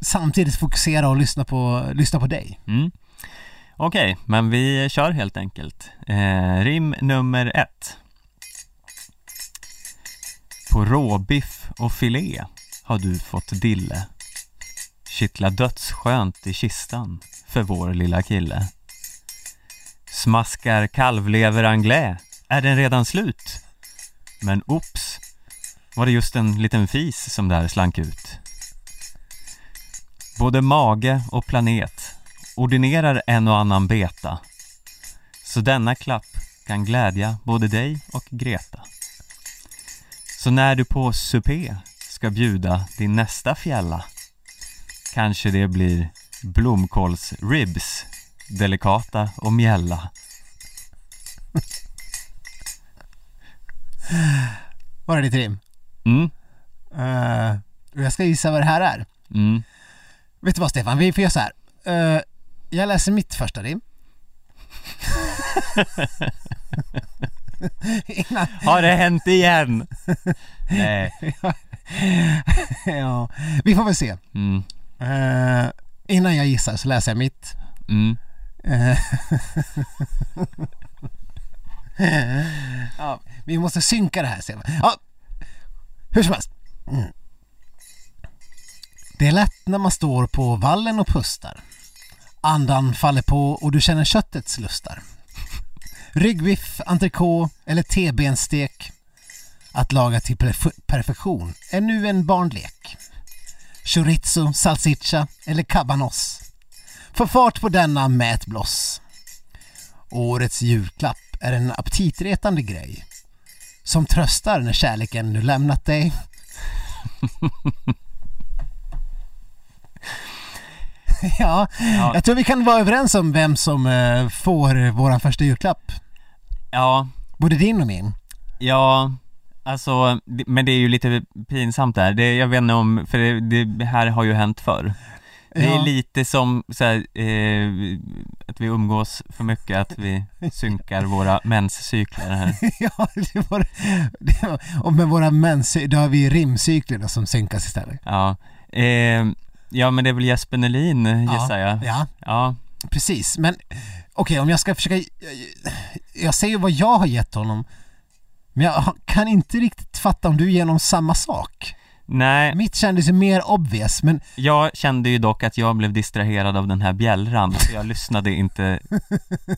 [SPEAKER 2] samtidigt fokusera och lyssna på, lyssna på dig.
[SPEAKER 1] Mm. Okej, men vi kör helt enkelt. Eh, rim nummer ett. På råbiff och filé har du fått dille. Kittla dödsskönt i kistan för vår lilla kille. Smaskar kalvlever anglais. Är den redan slut? Men ops, var det just en liten fis som där slank ut. Både mage och planet ordinerar en och annan beta. Så denna klapp kan glädja både dig och Greta. Så när du på supé ska bjuda din nästa fjälla kanske det blir blomkålsribs, delikata och mjälla.
[SPEAKER 2] Var det ditt rim?
[SPEAKER 1] Mm,
[SPEAKER 2] Eh, och jag ska gissa vad det här är.
[SPEAKER 1] mm,
[SPEAKER 2] Vet du vad Stefan, vi får göra så här. Eh, jag läser mitt första rim. Innan,
[SPEAKER 1] har det hänt igen? Nej,
[SPEAKER 2] ja, vi får väl se.
[SPEAKER 1] mm,
[SPEAKER 2] Eh, innan jag gissar så läser jag mitt.
[SPEAKER 1] mm,
[SPEAKER 2] Eh, ja, vi måste synka det här Stefan. Ja, hur som helst. Mm. Det är lätt när man står på vallen och pustar. Andan faller på och du känner köttets lustar. Ryggbiff, entrecote eller T-benstek. Att laga till perf- perfektion är nu en barnlek. Chorizo, salsiccia eller cabanos. Få fart på denna med ett bloss. Årets julklapp är en aptitretande grej som tröstar när kärleken nu lämnat dig. ja,
[SPEAKER 1] Ja.
[SPEAKER 2] jag tror vi kan vara överens om vem som eh, får våran första julklapp.
[SPEAKER 1] ja,
[SPEAKER 2] Både din och min.
[SPEAKER 1] ja, Alltså, det- men det är ju lite pinsamt där. Det, jag vet inte om, för det, det här har ju hänt förr. Det är
[SPEAKER 2] Ja.
[SPEAKER 1] lite som så här, eh, att vi umgås för mycket, att vi synkar våra menscykler här.
[SPEAKER 2] ja, det var, det var, och med våra menscykler, då har vi ju rimcykler då som synkas istället.
[SPEAKER 1] Ja. Eh, ja, men det är väl Jesper Nelin gissar jag.
[SPEAKER 2] Ja,
[SPEAKER 1] Ja.
[SPEAKER 2] precis. Men okej, om jag ska försöka... Jag, jag ser ju vad jag har gett honom. Men jag kan inte riktigt fatta om du ger honom samma sak.
[SPEAKER 1] Nej,
[SPEAKER 2] Mitt kändes ju mer obvious, men
[SPEAKER 1] jag kände ju dock att jag blev distraherad av den här bjällran, så jag lyssnade inte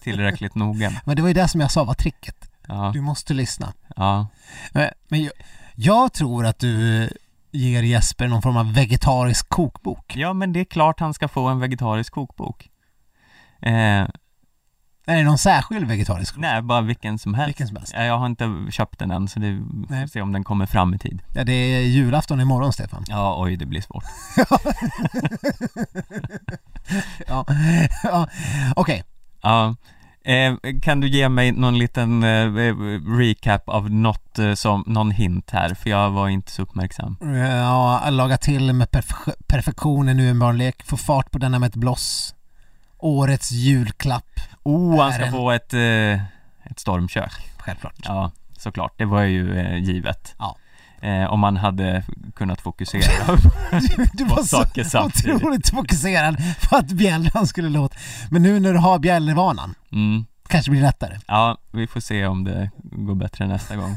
[SPEAKER 1] tillräckligt noga.
[SPEAKER 2] Men det var ju det som jag sa var tricket.
[SPEAKER 1] Ja,
[SPEAKER 2] Du måste lyssna.
[SPEAKER 1] ja.
[SPEAKER 2] Eh, Men jag, jag tror att du ger Jesper någon form av vegetarisk kokbok.
[SPEAKER 1] ja, men det är klart han ska få en vegetarisk kokbok. Eh,
[SPEAKER 2] Är det någon särskild vegetarisk kokbok?
[SPEAKER 1] nej, bara vilken som helst.
[SPEAKER 2] Vilken som helst.
[SPEAKER 1] Ja, Jag har inte köpt den än, så det vi får
[SPEAKER 2] Nej.
[SPEAKER 1] se om den kommer fram i tid.
[SPEAKER 2] Ja, det är julafton imorgon, Stefan.
[SPEAKER 1] Ja, oj, det blir svårt.
[SPEAKER 2] Ja. ja. Okej.
[SPEAKER 1] Ja. Eh, kan du ge mig någon liten eh, recap av något eh, som, någon hint här? För jag var inte så uppmärksam.
[SPEAKER 2] Eh, Ja, laga till med perf- perfektionen nu en barnlek. Få fart på denna med ett bloss. Årets julklapp.
[SPEAKER 1] Oh, han ska
[SPEAKER 2] Är en-
[SPEAKER 1] få ett, eh, ett stormkök.
[SPEAKER 2] Självklart.
[SPEAKER 1] Ja, såklart. Det var ju eh, givet.
[SPEAKER 2] Ja.
[SPEAKER 1] Eh, om man hade kunnat fokusera.
[SPEAKER 2] Du, du
[SPEAKER 1] Två
[SPEAKER 2] var så
[SPEAKER 1] saker samtidigt.
[SPEAKER 2] otroligt fokuserad på att bjällran skulle låta. Men nu när du har bjällrvanan,
[SPEAKER 1] Mm.
[SPEAKER 2] kanske blir det lättare.
[SPEAKER 1] Ja, vi får se om det går bättre nästa gång.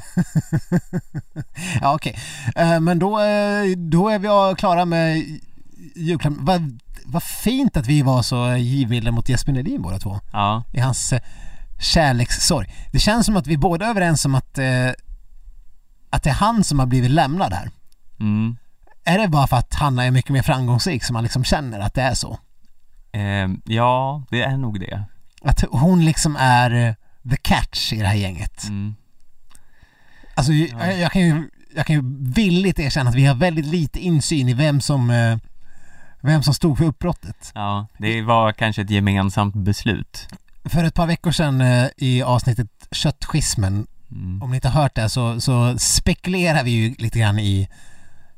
[SPEAKER 2] Ja okej, Eh, men då, eh, då är vi eh, klara med julklapp. Vad vad fint att vi var så givmilda mot Jesper Nelin båda två
[SPEAKER 1] Ja,
[SPEAKER 2] i hans eh, kärlekssorg. Det känns som att vi är båda är överens om att, eh, att det är han som har blivit lämnad här.
[SPEAKER 1] mm.
[SPEAKER 2] Är det bara för att Hanna är mycket mer framgångsrik som man liksom känner att det är så?
[SPEAKER 1] Eh, ja, det är nog det.
[SPEAKER 2] Att hon liksom är eh, the catch i det här gänget.
[SPEAKER 1] Mm.
[SPEAKER 2] Alltså jag, jag, kan ju, jag kan ju villigt erkänna att vi har väldigt lite insyn i vem som, eh, vem som stod för uppbrottet.
[SPEAKER 1] Ja, det var kanske ett gemensamt beslut.
[SPEAKER 2] För ett par veckor sedan eh, i avsnittet Köttschismen,
[SPEAKER 1] Mm.
[SPEAKER 2] om ni inte har hört det så, så spekulerar vi ju lite grann i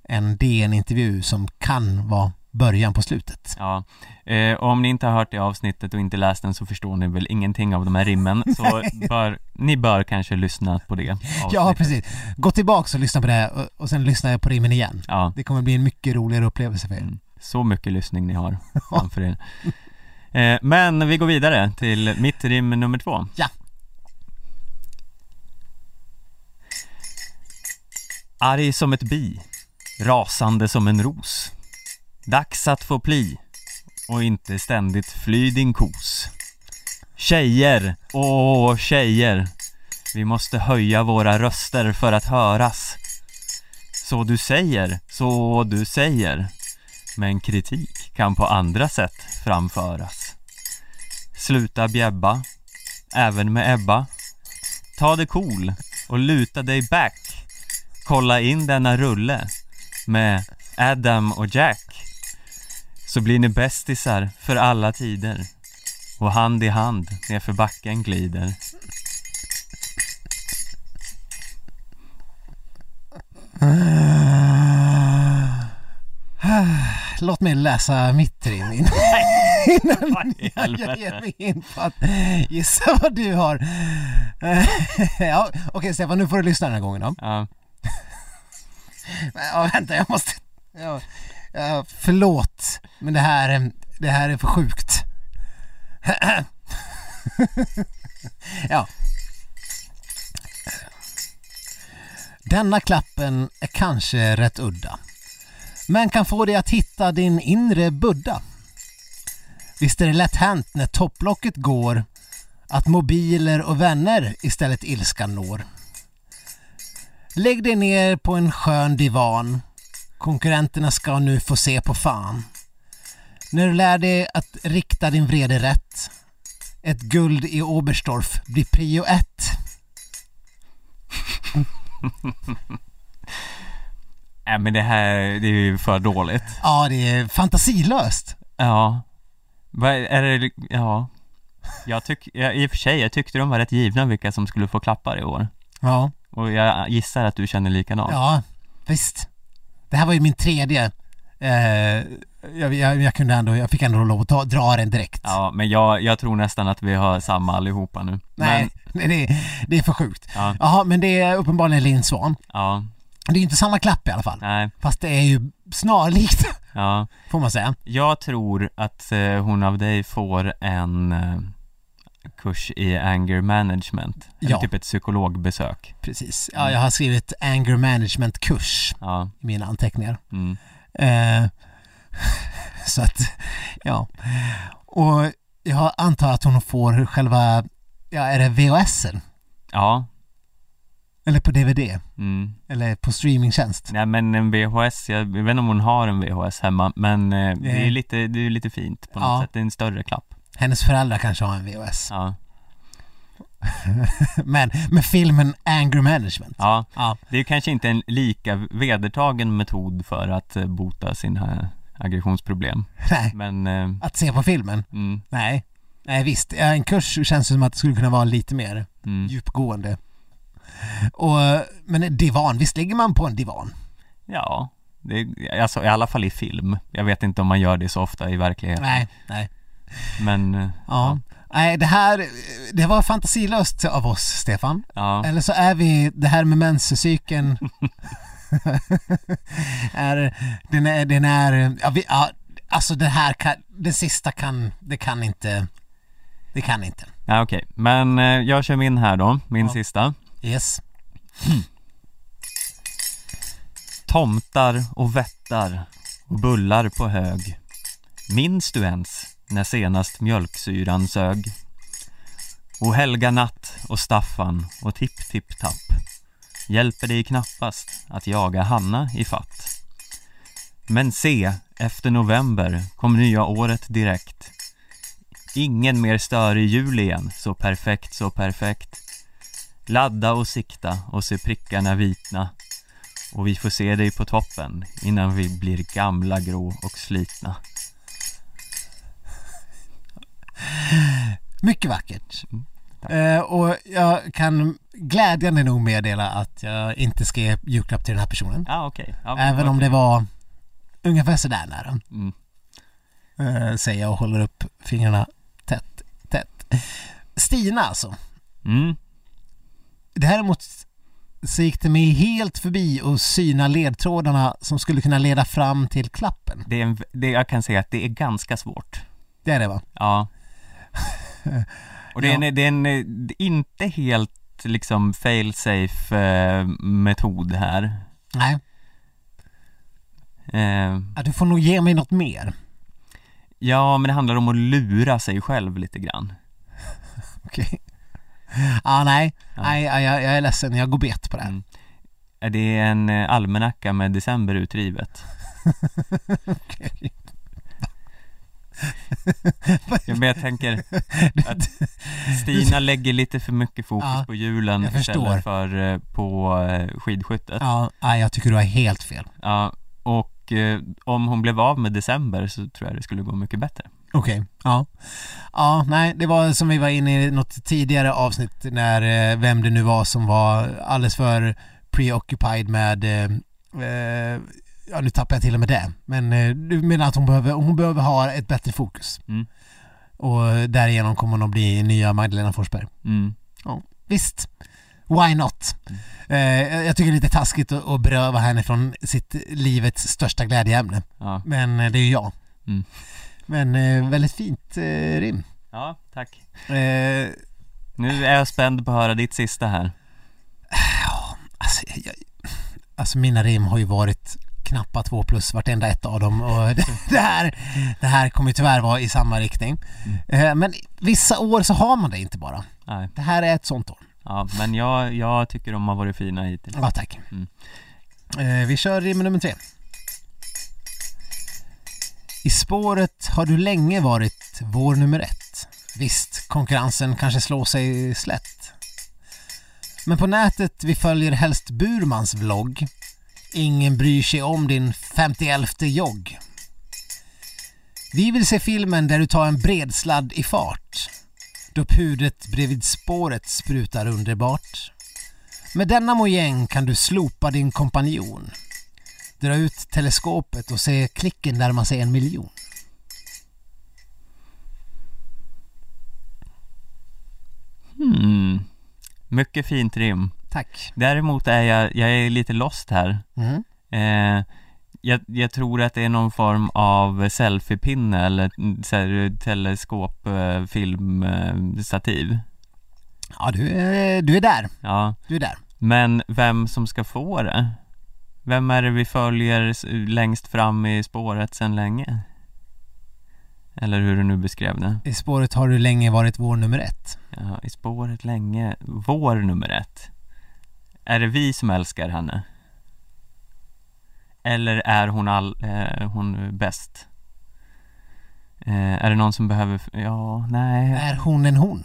[SPEAKER 2] en DN-intervju som kan vara början på slutet.
[SPEAKER 1] Ja, eh, och om ni inte har hört det avsnittet och inte läst den så förstår ni väl ingenting av de här rimmen, så bör, ni bör kanske lyssna på det avsnittet.
[SPEAKER 2] Ja, precis. Gå tillbaks och lyssna på det här och, och sen lyssnar jag på rimmen igen.
[SPEAKER 1] Ja,
[SPEAKER 2] Det kommer bli en mycket roligare upplevelse för er.
[SPEAKER 1] mm. så mycket lyssning ni har framför er. Eh, men vi går vidare till mitt rim nummer två.
[SPEAKER 2] Ja.
[SPEAKER 1] Arg som ett bi, rasande som en ros. Dags att få pli och inte ständigt fly din kos. Tjejer, åh tjejer. Vi måste höja våra röster för att höras. Så du säger, så du säger. Men kritik kan på andra sätt framföras. Sluta bjäbba, även med Ebba. Ta det cool och luta dig back. Kolla in denna rulle med Adam och Jack. Så blir ni bästisar för alla tider. Och hand i hand nerför backen glider.
[SPEAKER 2] Låt mig läsa mitt rim innan
[SPEAKER 1] Vad i
[SPEAKER 2] Jag ger
[SPEAKER 1] helvete?
[SPEAKER 2] mig in på att gissa vad du har. ja, Okej Stefan, nu får du lyssna den här gången då.
[SPEAKER 1] Ja,
[SPEAKER 2] Ja, vänta, jag måste... Ja, ja, förlåt, men det här, eh, det här är för sjukt. ja. Denna klappen är kanske rätt udda. Men kan få dig att hitta din inre Buddha. Visst är det lätt hänt när topplocket går att mobiler och vänner istället ilskan når. Lägg dig ner på en skön divan. Konkurrenterna ska nu få se på fan. När du lär dig att rikta din vrede rätt. Ett guld i Oberstdorf blir prio ett.
[SPEAKER 1] Nej, men det här, det är ju för dåligt.
[SPEAKER 2] Ja, det är fantasilöst.
[SPEAKER 1] Ja. Vad är det, ja. Jag tyck, ja, i och för sig, jag tyckte de var rätt givna vilka som skulle få klappar i år.
[SPEAKER 2] Ja.
[SPEAKER 1] Och jag gissar att du känner likadant.
[SPEAKER 2] Ja, visst. Det här var ju min tredje. Eh, jag, jag, jag kunde ändå, jag fick ändå lov att ta, dra den direkt.
[SPEAKER 1] Ja, men jag, jag tror nästan att vi har samma allihopa nu.
[SPEAKER 2] Nej,
[SPEAKER 1] Men,
[SPEAKER 2] nej det, det är för sjukt.
[SPEAKER 1] Ja.
[SPEAKER 2] Jaha, men det är uppenbarligen Linn Svan.
[SPEAKER 1] ja,
[SPEAKER 2] Det är ju inte samma klapp i alla fall.
[SPEAKER 1] nej,
[SPEAKER 2] Fast det är ju snarlikt,
[SPEAKER 1] ja.
[SPEAKER 2] får man säga.
[SPEAKER 1] Jag tror att eh, hon av dig får en eh, kurs i anger management. Eller
[SPEAKER 2] Ja.
[SPEAKER 1] typ ett psykologbesök.
[SPEAKER 2] Precis. Ja, jag har skrivit anger management-kurs
[SPEAKER 1] Ja,
[SPEAKER 2] i mina anteckningar.
[SPEAKER 1] mm.
[SPEAKER 2] Eh, så att, ja. Och jag antar att hon får själva, ja är det VHSen?
[SPEAKER 1] ja,
[SPEAKER 2] Eller på DVD?
[SPEAKER 1] mm.
[SPEAKER 2] Eller på streamingtjänst?
[SPEAKER 1] Nej men en VHS, jag vet inte om hon har en VHS hemma men eh, det är
[SPEAKER 2] Eh.
[SPEAKER 1] lite, det är lite fint på något
[SPEAKER 2] Ja.
[SPEAKER 1] sätt. Det är en större klapp.
[SPEAKER 2] Hennes föräldrar kanske har en VHS.
[SPEAKER 1] Ja.
[SPEAKER 2] Men med filmen anger management.
[SPEAKER 1] ja,
[SPEAKER 2] Ja.
[SPEAKER 1] det är kanske inte en lika vedertagen metod för att eh, bota sina aggressionsproblem.
[SPEAKER 2] Nej.
[SPEAKER 1] Men, eh,
[SPEAKER 2] Att se på filmen?
[SPEAKER 1] mm,
[SPEAKER 2] Nej. Nej visst, Ja, en kurs känns som att det skulle kunna vara lite mer
[SPEAKER 1] mm.
[SPEAKER 2] djupgående. Och, men en divan, visst ligger man på en divan?
[SPEAKER 1] Ja, det, alltså i alla fall i film. Jag vet inte om man gör det så ofta i verkligheten.
[SPEAKER 2] Nej, nej.
[SPEAKER 1] Men, eh,
[SPEAKER 2] Ja. Nej, det här, det var fantasilöst av oss, Stefan.
[SPEAKER 1] ja,
[SPEAKER 2] Eller så är vi, det här med menscykeln är, den är, den är, ja, vi, ja, alltså det här kan, det sista kan, det kan inte, det kan inte.
[SPEAKER 1] ja okej. Men eh, jag kör min här då, min sista.
[SPEAKER 2] Yes.
[SPEAKER 1] Tomtar och vättar och bullar på hög. Minns du ens när senast mjölksyran sög? O helga natt och Staffan och tipp-tipp-tapp hjälper dig knappast att jaga Hanna i fatt. Men se, efter november kom nya året direkt. Ingen mer stör i jul igen, så perfekt, så perfekt. Ladda och sikta och se prickarna vitna och vi får se dig på toppen innan vi blir gamla, grå och slitna.
[SPEAKER 2] Mycket vackert.
[SPEAKER 1] Mm.
[SPEAKER 2] Eh, och jag kan glädjande nog meddela att jag inte skrev julklapp till den här personen.
[SPEAKER 1] Ja, okej. Ja,
[SPEAKER 2] Även
[SPEAKER 1] vad-
[SPEAKER 2] om det var ungefär sådär nära.
[SPEAKER 1] Mm.
[SPEAKER 2] Eh, säger jag och håller upp fingrarna tätt, tätt. Stina alltså.
[SPEAKER 1] Mm,
[SPEAKER 2] Däremot så gick det mig helt förbi att syna ledtrådarna som skulle kunna leda fram till klappen.
[SPEAKER 1] det är en, det, jag kan säga att det är ganska svårt.
[SPEAKER 2] Det är det va?
[SPEAKER 1] Ja. Och det är,
[SPEAKER 2] Ja.
[SPEAKER 1] en, det är en eh, inte helt liksom fail safe eh, metod här.
[SPEAKER 2] Nej,
[SPEAKER 1] Eh,
[SPEAKER 2] ja, du får nog ge mig något mer.
[SPEAKER 1] ja, men det handlar om att lura sig själv lite grann.
[SPEAKER 2] Okej. Ah, nej,
[SPEAKER 1] Ja.
[SPEAKER 2] nej jag, jag jag är ledsen, jag går bet på det här.
[SPEAKER 1] Mm. Är det en eh, almanacka med december utrivet?
[SPEAKER 2] Okej.
[SPEAKER 1] Ja, men jag tänker att Stina lägger lite för mycket fokus
[SPEAKER 2] Ja,
[SPEAKER 1] på julen
[SPEAKER 2] jag förstår.
[SPEAKER 1] istället för eh, på eh, skidskyttet. Ja.
[SPEAKER 2] Ja, nej, jag tycker du har helt fel.
[SPEAKER 1] och eh, om hon blev av med december så tror jag det skulle gå mycket bättre.
[SPEAKER 2] Okej, ja. Ja, nej, det var som vi var inne i något tidigare avsnitt när eh, vem det nu var som var alldeles för preoccupied med, eh, eh, ja nu tappar jag till och med det, men eh, du menar att hon behöver, hon behöver ha ett bättre fokus.
[SPEAKER 1] Mm.
[SPEAKER 2] Och därigenom kommer hon att bli nya Magdalena Forsberg.
[SPEAKER 1] Mm.
[SPEAKER 2] Visst, why not? Eh, jag tycker det är lite taskigt att, att beröva henne från sitt livets största glädjeämne.
[SPEAKER 1] Ja.
[SPEAKER 2] Men eh, det är ju jag.
[SPEAKER 1] Mm.
[SPEAKER 2] Men eh, väldigt fint eh, rim.
[SPEAKER 1] ja, tack.
[SPEAKER 2] Eh,
[SPEAKER 1] Nu är jag spänd på att höra ditt sista här.
[SPEAKER 2] alltså, jag, alltså mina rim har ju varit knappa två plus vartenda ett av dem och det, det här, det här kommer ju tyvärr vara i samma riktning.
[SPEAKER 1] Mm.
[SPEAKER 2] Eh, men vissa år så har man det inte bara.
[SPEAKER 1] Nej.
[SPEAKER 2] Det här är ett sånt år.
[SPEAKER 1] Ja, men jag, jag tycker de har varit fina hittills.
[SPEAKER 2] Ja, tack.
[SPEAKER 1] Mm.
[SPEAKER 2] Eh, vi kör rim nummer tre. I spåret har du länge varit vår nummer ett. Visst, konkurrensen kanske slår sig slätt. Men på nätet vi följer helst Burmans vlogg. Ingen bryr sig om din 51 jogg. Vi vill se filmen där du tar en bredsladd i fart. Då pudret bredvid spåret sprutar underbart. Med denna mojäng kan du slopa din kompanjon. Dra ut teleskopet och se klicken närma sig en miljon.
[SPEAKER 1] Hmm. Mycket fint rim.
[SPEAKER 2] Tack.
[SPEAKER 1] Däremot är jag, jag är lite lost här.
[SPEAKER 2] Mm.
[SPEAKER 1] Eh, jag, jag tror att det är någon form av selfiepinne eller mm, så här, teleskop, eh, film, eh, stativ.
[SPEAKER 2] Ja, du, är- du är där.
[SPEAKER 1] Ja,
[SPEAKER 2] Du är där.
[SPEAKER 1] men vem som ska få det? Vem är det vi följer s- längst fram i spåret sedan länge? Eller hur du nu beskrev det.
[SPEAKER 2] I spåret har du länge varit vår nummer ett.
[SPEAKER 1] Ja, i spåret länge. Vår nummer ett. Är det vi som älskar henne? Eller är hon all, eh, hon bäst? Eh, är det någon som behöver, f- ja, nej.
[SPEAKER 2] Är hon en hon?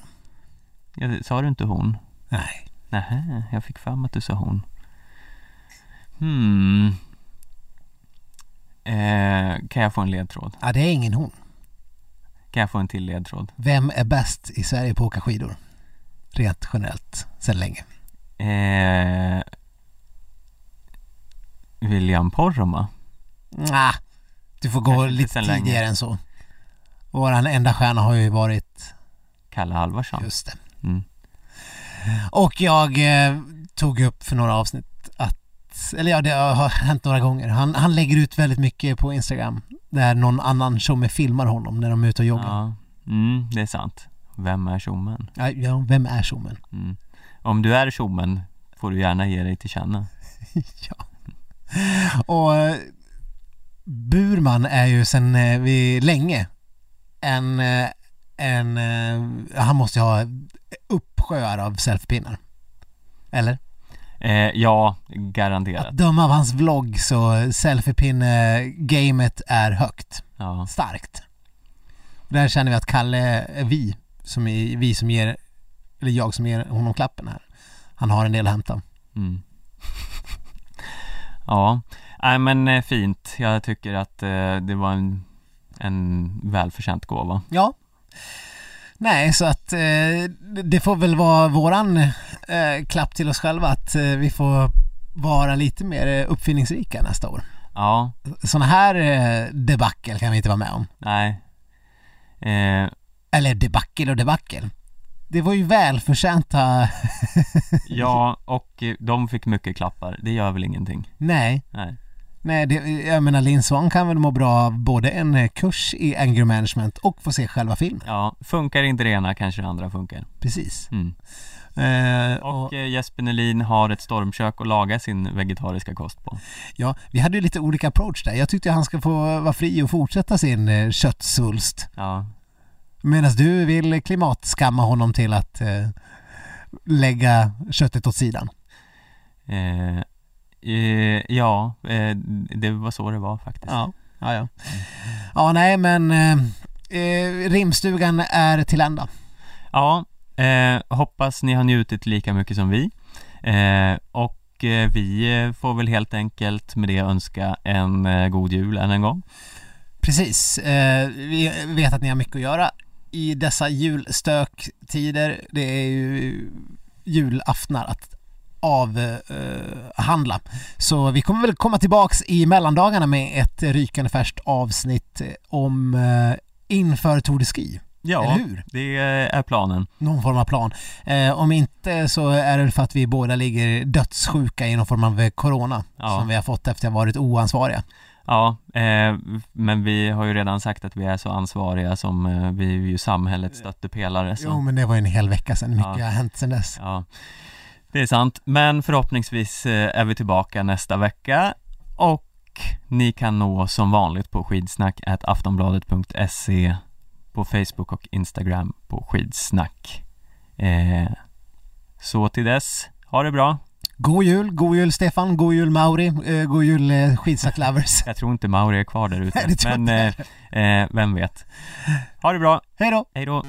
[SPEAKER 1] Jag, sa du inte hon?
[SPEAKER 2] Nej.
[SPEAKER 1] Nähä, jag fick fram att du sa hon. Hmm. Eh, kan jag få en ledtråd?
[SPEAKER 2] Ja, det är ingen hon.
[SPEAKER 1] Kan jag få en till ledtråd?
[SPEAKER 2] Vem är bäst i Sverige på att åka skidor? Rent generellt, sedan länge.
[SPEAKER 1] Eh, William Poromaa?
[SPEAKER 2] Nah, du får gå
[SPEAKER 1] Kanske inte
[SPEAKER 2] lite
[SPEAKER 1] sedan
[SPEAKER 2] tidigare
[SPEAKER 1] länge.
[SPEAKER 2] än så. Våran enda stjärna har ju varit...
[SPEAKER 1] Kalle Halvarsson?
[SPEAKER 2] Just det.
[SPEAKER 1] Mm.
[SPEAKER 2] Och jag eh, tog upp för några avsnitt att, eller ja det har hänt några gånger. Han, han lägger ut väldigt mycket på Instagram där någon annan tjomme filmar honom när de är ute och joggar.
[SPEAKER 1] Ja, mm, det är sant. Vem är tjommen?
[SPEAKER 2] Ja. Ja, vem är tjommen?
[SPEAKER 1] Mm. Om du är tjommen får du gärna ge dig till känna.
[SPEAKER 2] ja. Och eh, Burman är ju sedan eh, vi länge en, eh, en, eh, han måste ju ha uppsjöar av selfiepinnar. Eller?
[SPEAKER 1] Eh, ja,
[SPEAKER 2] Att
[SPEAKER 1] garanterat.
[SPEAKER 2] döma av hans vlogg så selfiepinne-gamet är högt.
[SPEAKER 1] Ja.
[SPEAKER 2] starkt. Och där känner vi att Kalle är vi, som är vi som ger, eller jag som ger honom klappen här. Han har en del att hämta.
[SPEAKER 1] Mm. ja, nej men eh, fint. Jag tycker att eh, det var en, en välförtjänt gåva.
[SPEAKER 2] Ja. Nej, så att eh, det får väl vara våran eh, klapp till oss själva att eh, vi får vara lite mer eh, uppfinningsrika nästa år.
[SPEAKER 1] Ja,
[SPEAKER 2] Sådana här eh, debacle kan vi inte vara med om.
[SPEAKER 1] nej. Eh,
[SPEAKER 2] Eller debacle och debacle. Det var ju välförtjänta...
[SPEAKER 1] ja, och eh, de fick mycket klappar. Det gör väl ingenting.
[SPEAKER 2] Nej.
[SPEAKER 1] Nej.
[SPEAKER 2] Nej, det, jag menar Linn Swan kan väl må bra av både en eh, kurs i anger management och få se själva filmen.
[SPEAKER 1] Ja, funkar inte det ena kanske det andra funkar.
[SPEAKER 2] Precis.
[SPEAKER 1] Mm.
[SPEAKER 2] Eh, och,
[SPEAKER 1] Och eh, Jesper Nelin har ett stormkök att laga sin vegetariska kost på.
[SPEAKER 2] ja, vi hade ju lite olika approach där. Jag tyckte han ska få vara fri och fortsätta sin eh, köttsvulst.
[SPEAKER 1] Ja,
[SPEAKER 2] Medan du vill klimatskamma honom till att eh, lägga köttet åt sidan.
[SPEAKER 1] eh, eh, ja eh, det var så det var faktiskt.
[SPEAKER 2] Ja, ja, ja. Ja, nej men eh, eh, rimstugan är till ända.
[SPEAKER 1] Ja, eh, hoppas ni har njutit lika mycket som vi. Eh, och eh, vi eh, får väl helt enkelt med det önska en eh, god jul än en gång.
[SPEAKER 2] Precis. Eh, vi vet att ni har mycket att göra i dessa julstöktider. Det är ju julaftnar att avhandla. Så vi kommer väl komma tillbaks i mellandagarna med ett rykande färskt avsnitt om eh, inför Tour de Ski.
[SPEAKER 1] Ja,
[SPEAKER 2] Eller hur?
[SPEAKER 1] det eh, är planen.
[SPEAKER 2] Någon form av plan. Eh, om inte så är det för att vi båda ligger dödssjuka i någon form av eh, corona
[SPEAKER 1] Ja.
[SPEAKER 2] som vi har fått efter att ha varit oansvariga.
[SPEAKER 1] Ja, eh, men vi har ju redan sagt att vi är så ansvariga som eh, vi är ju samhällets stöttepelare. Så.
[SPEAKER 2] Eh, Jo men det var ju en hel vecka sedan. Mycket
[SPEAKER 1] Ja.
[SPEAKER 2] har hänt sedan dess.
[SPEAKER 1] Ja, det är sant. Men förhoppningsvis eh, är vi tillbaka nästa vecka och ni kan nå oss som vanligt på skidsnack aftonbladet.se på Facebook och Instagram på skidsnack. Eh, så till dess, ha det bra.
[SPEAKER 2] God jul, god jul Stefan, god jul Mauri, eh, god jul eh, skidsack lovers.
[SPEAKER 1] Jag tror inte Mauri är kvar där ute,
[SPEAKER 2] Nej, det tror jag
[SPEAKER 1] men eh, eh, vem vet. Ha det bra,
[SPEAKER 2] Hej då!
[SPEAKER 1] hej då.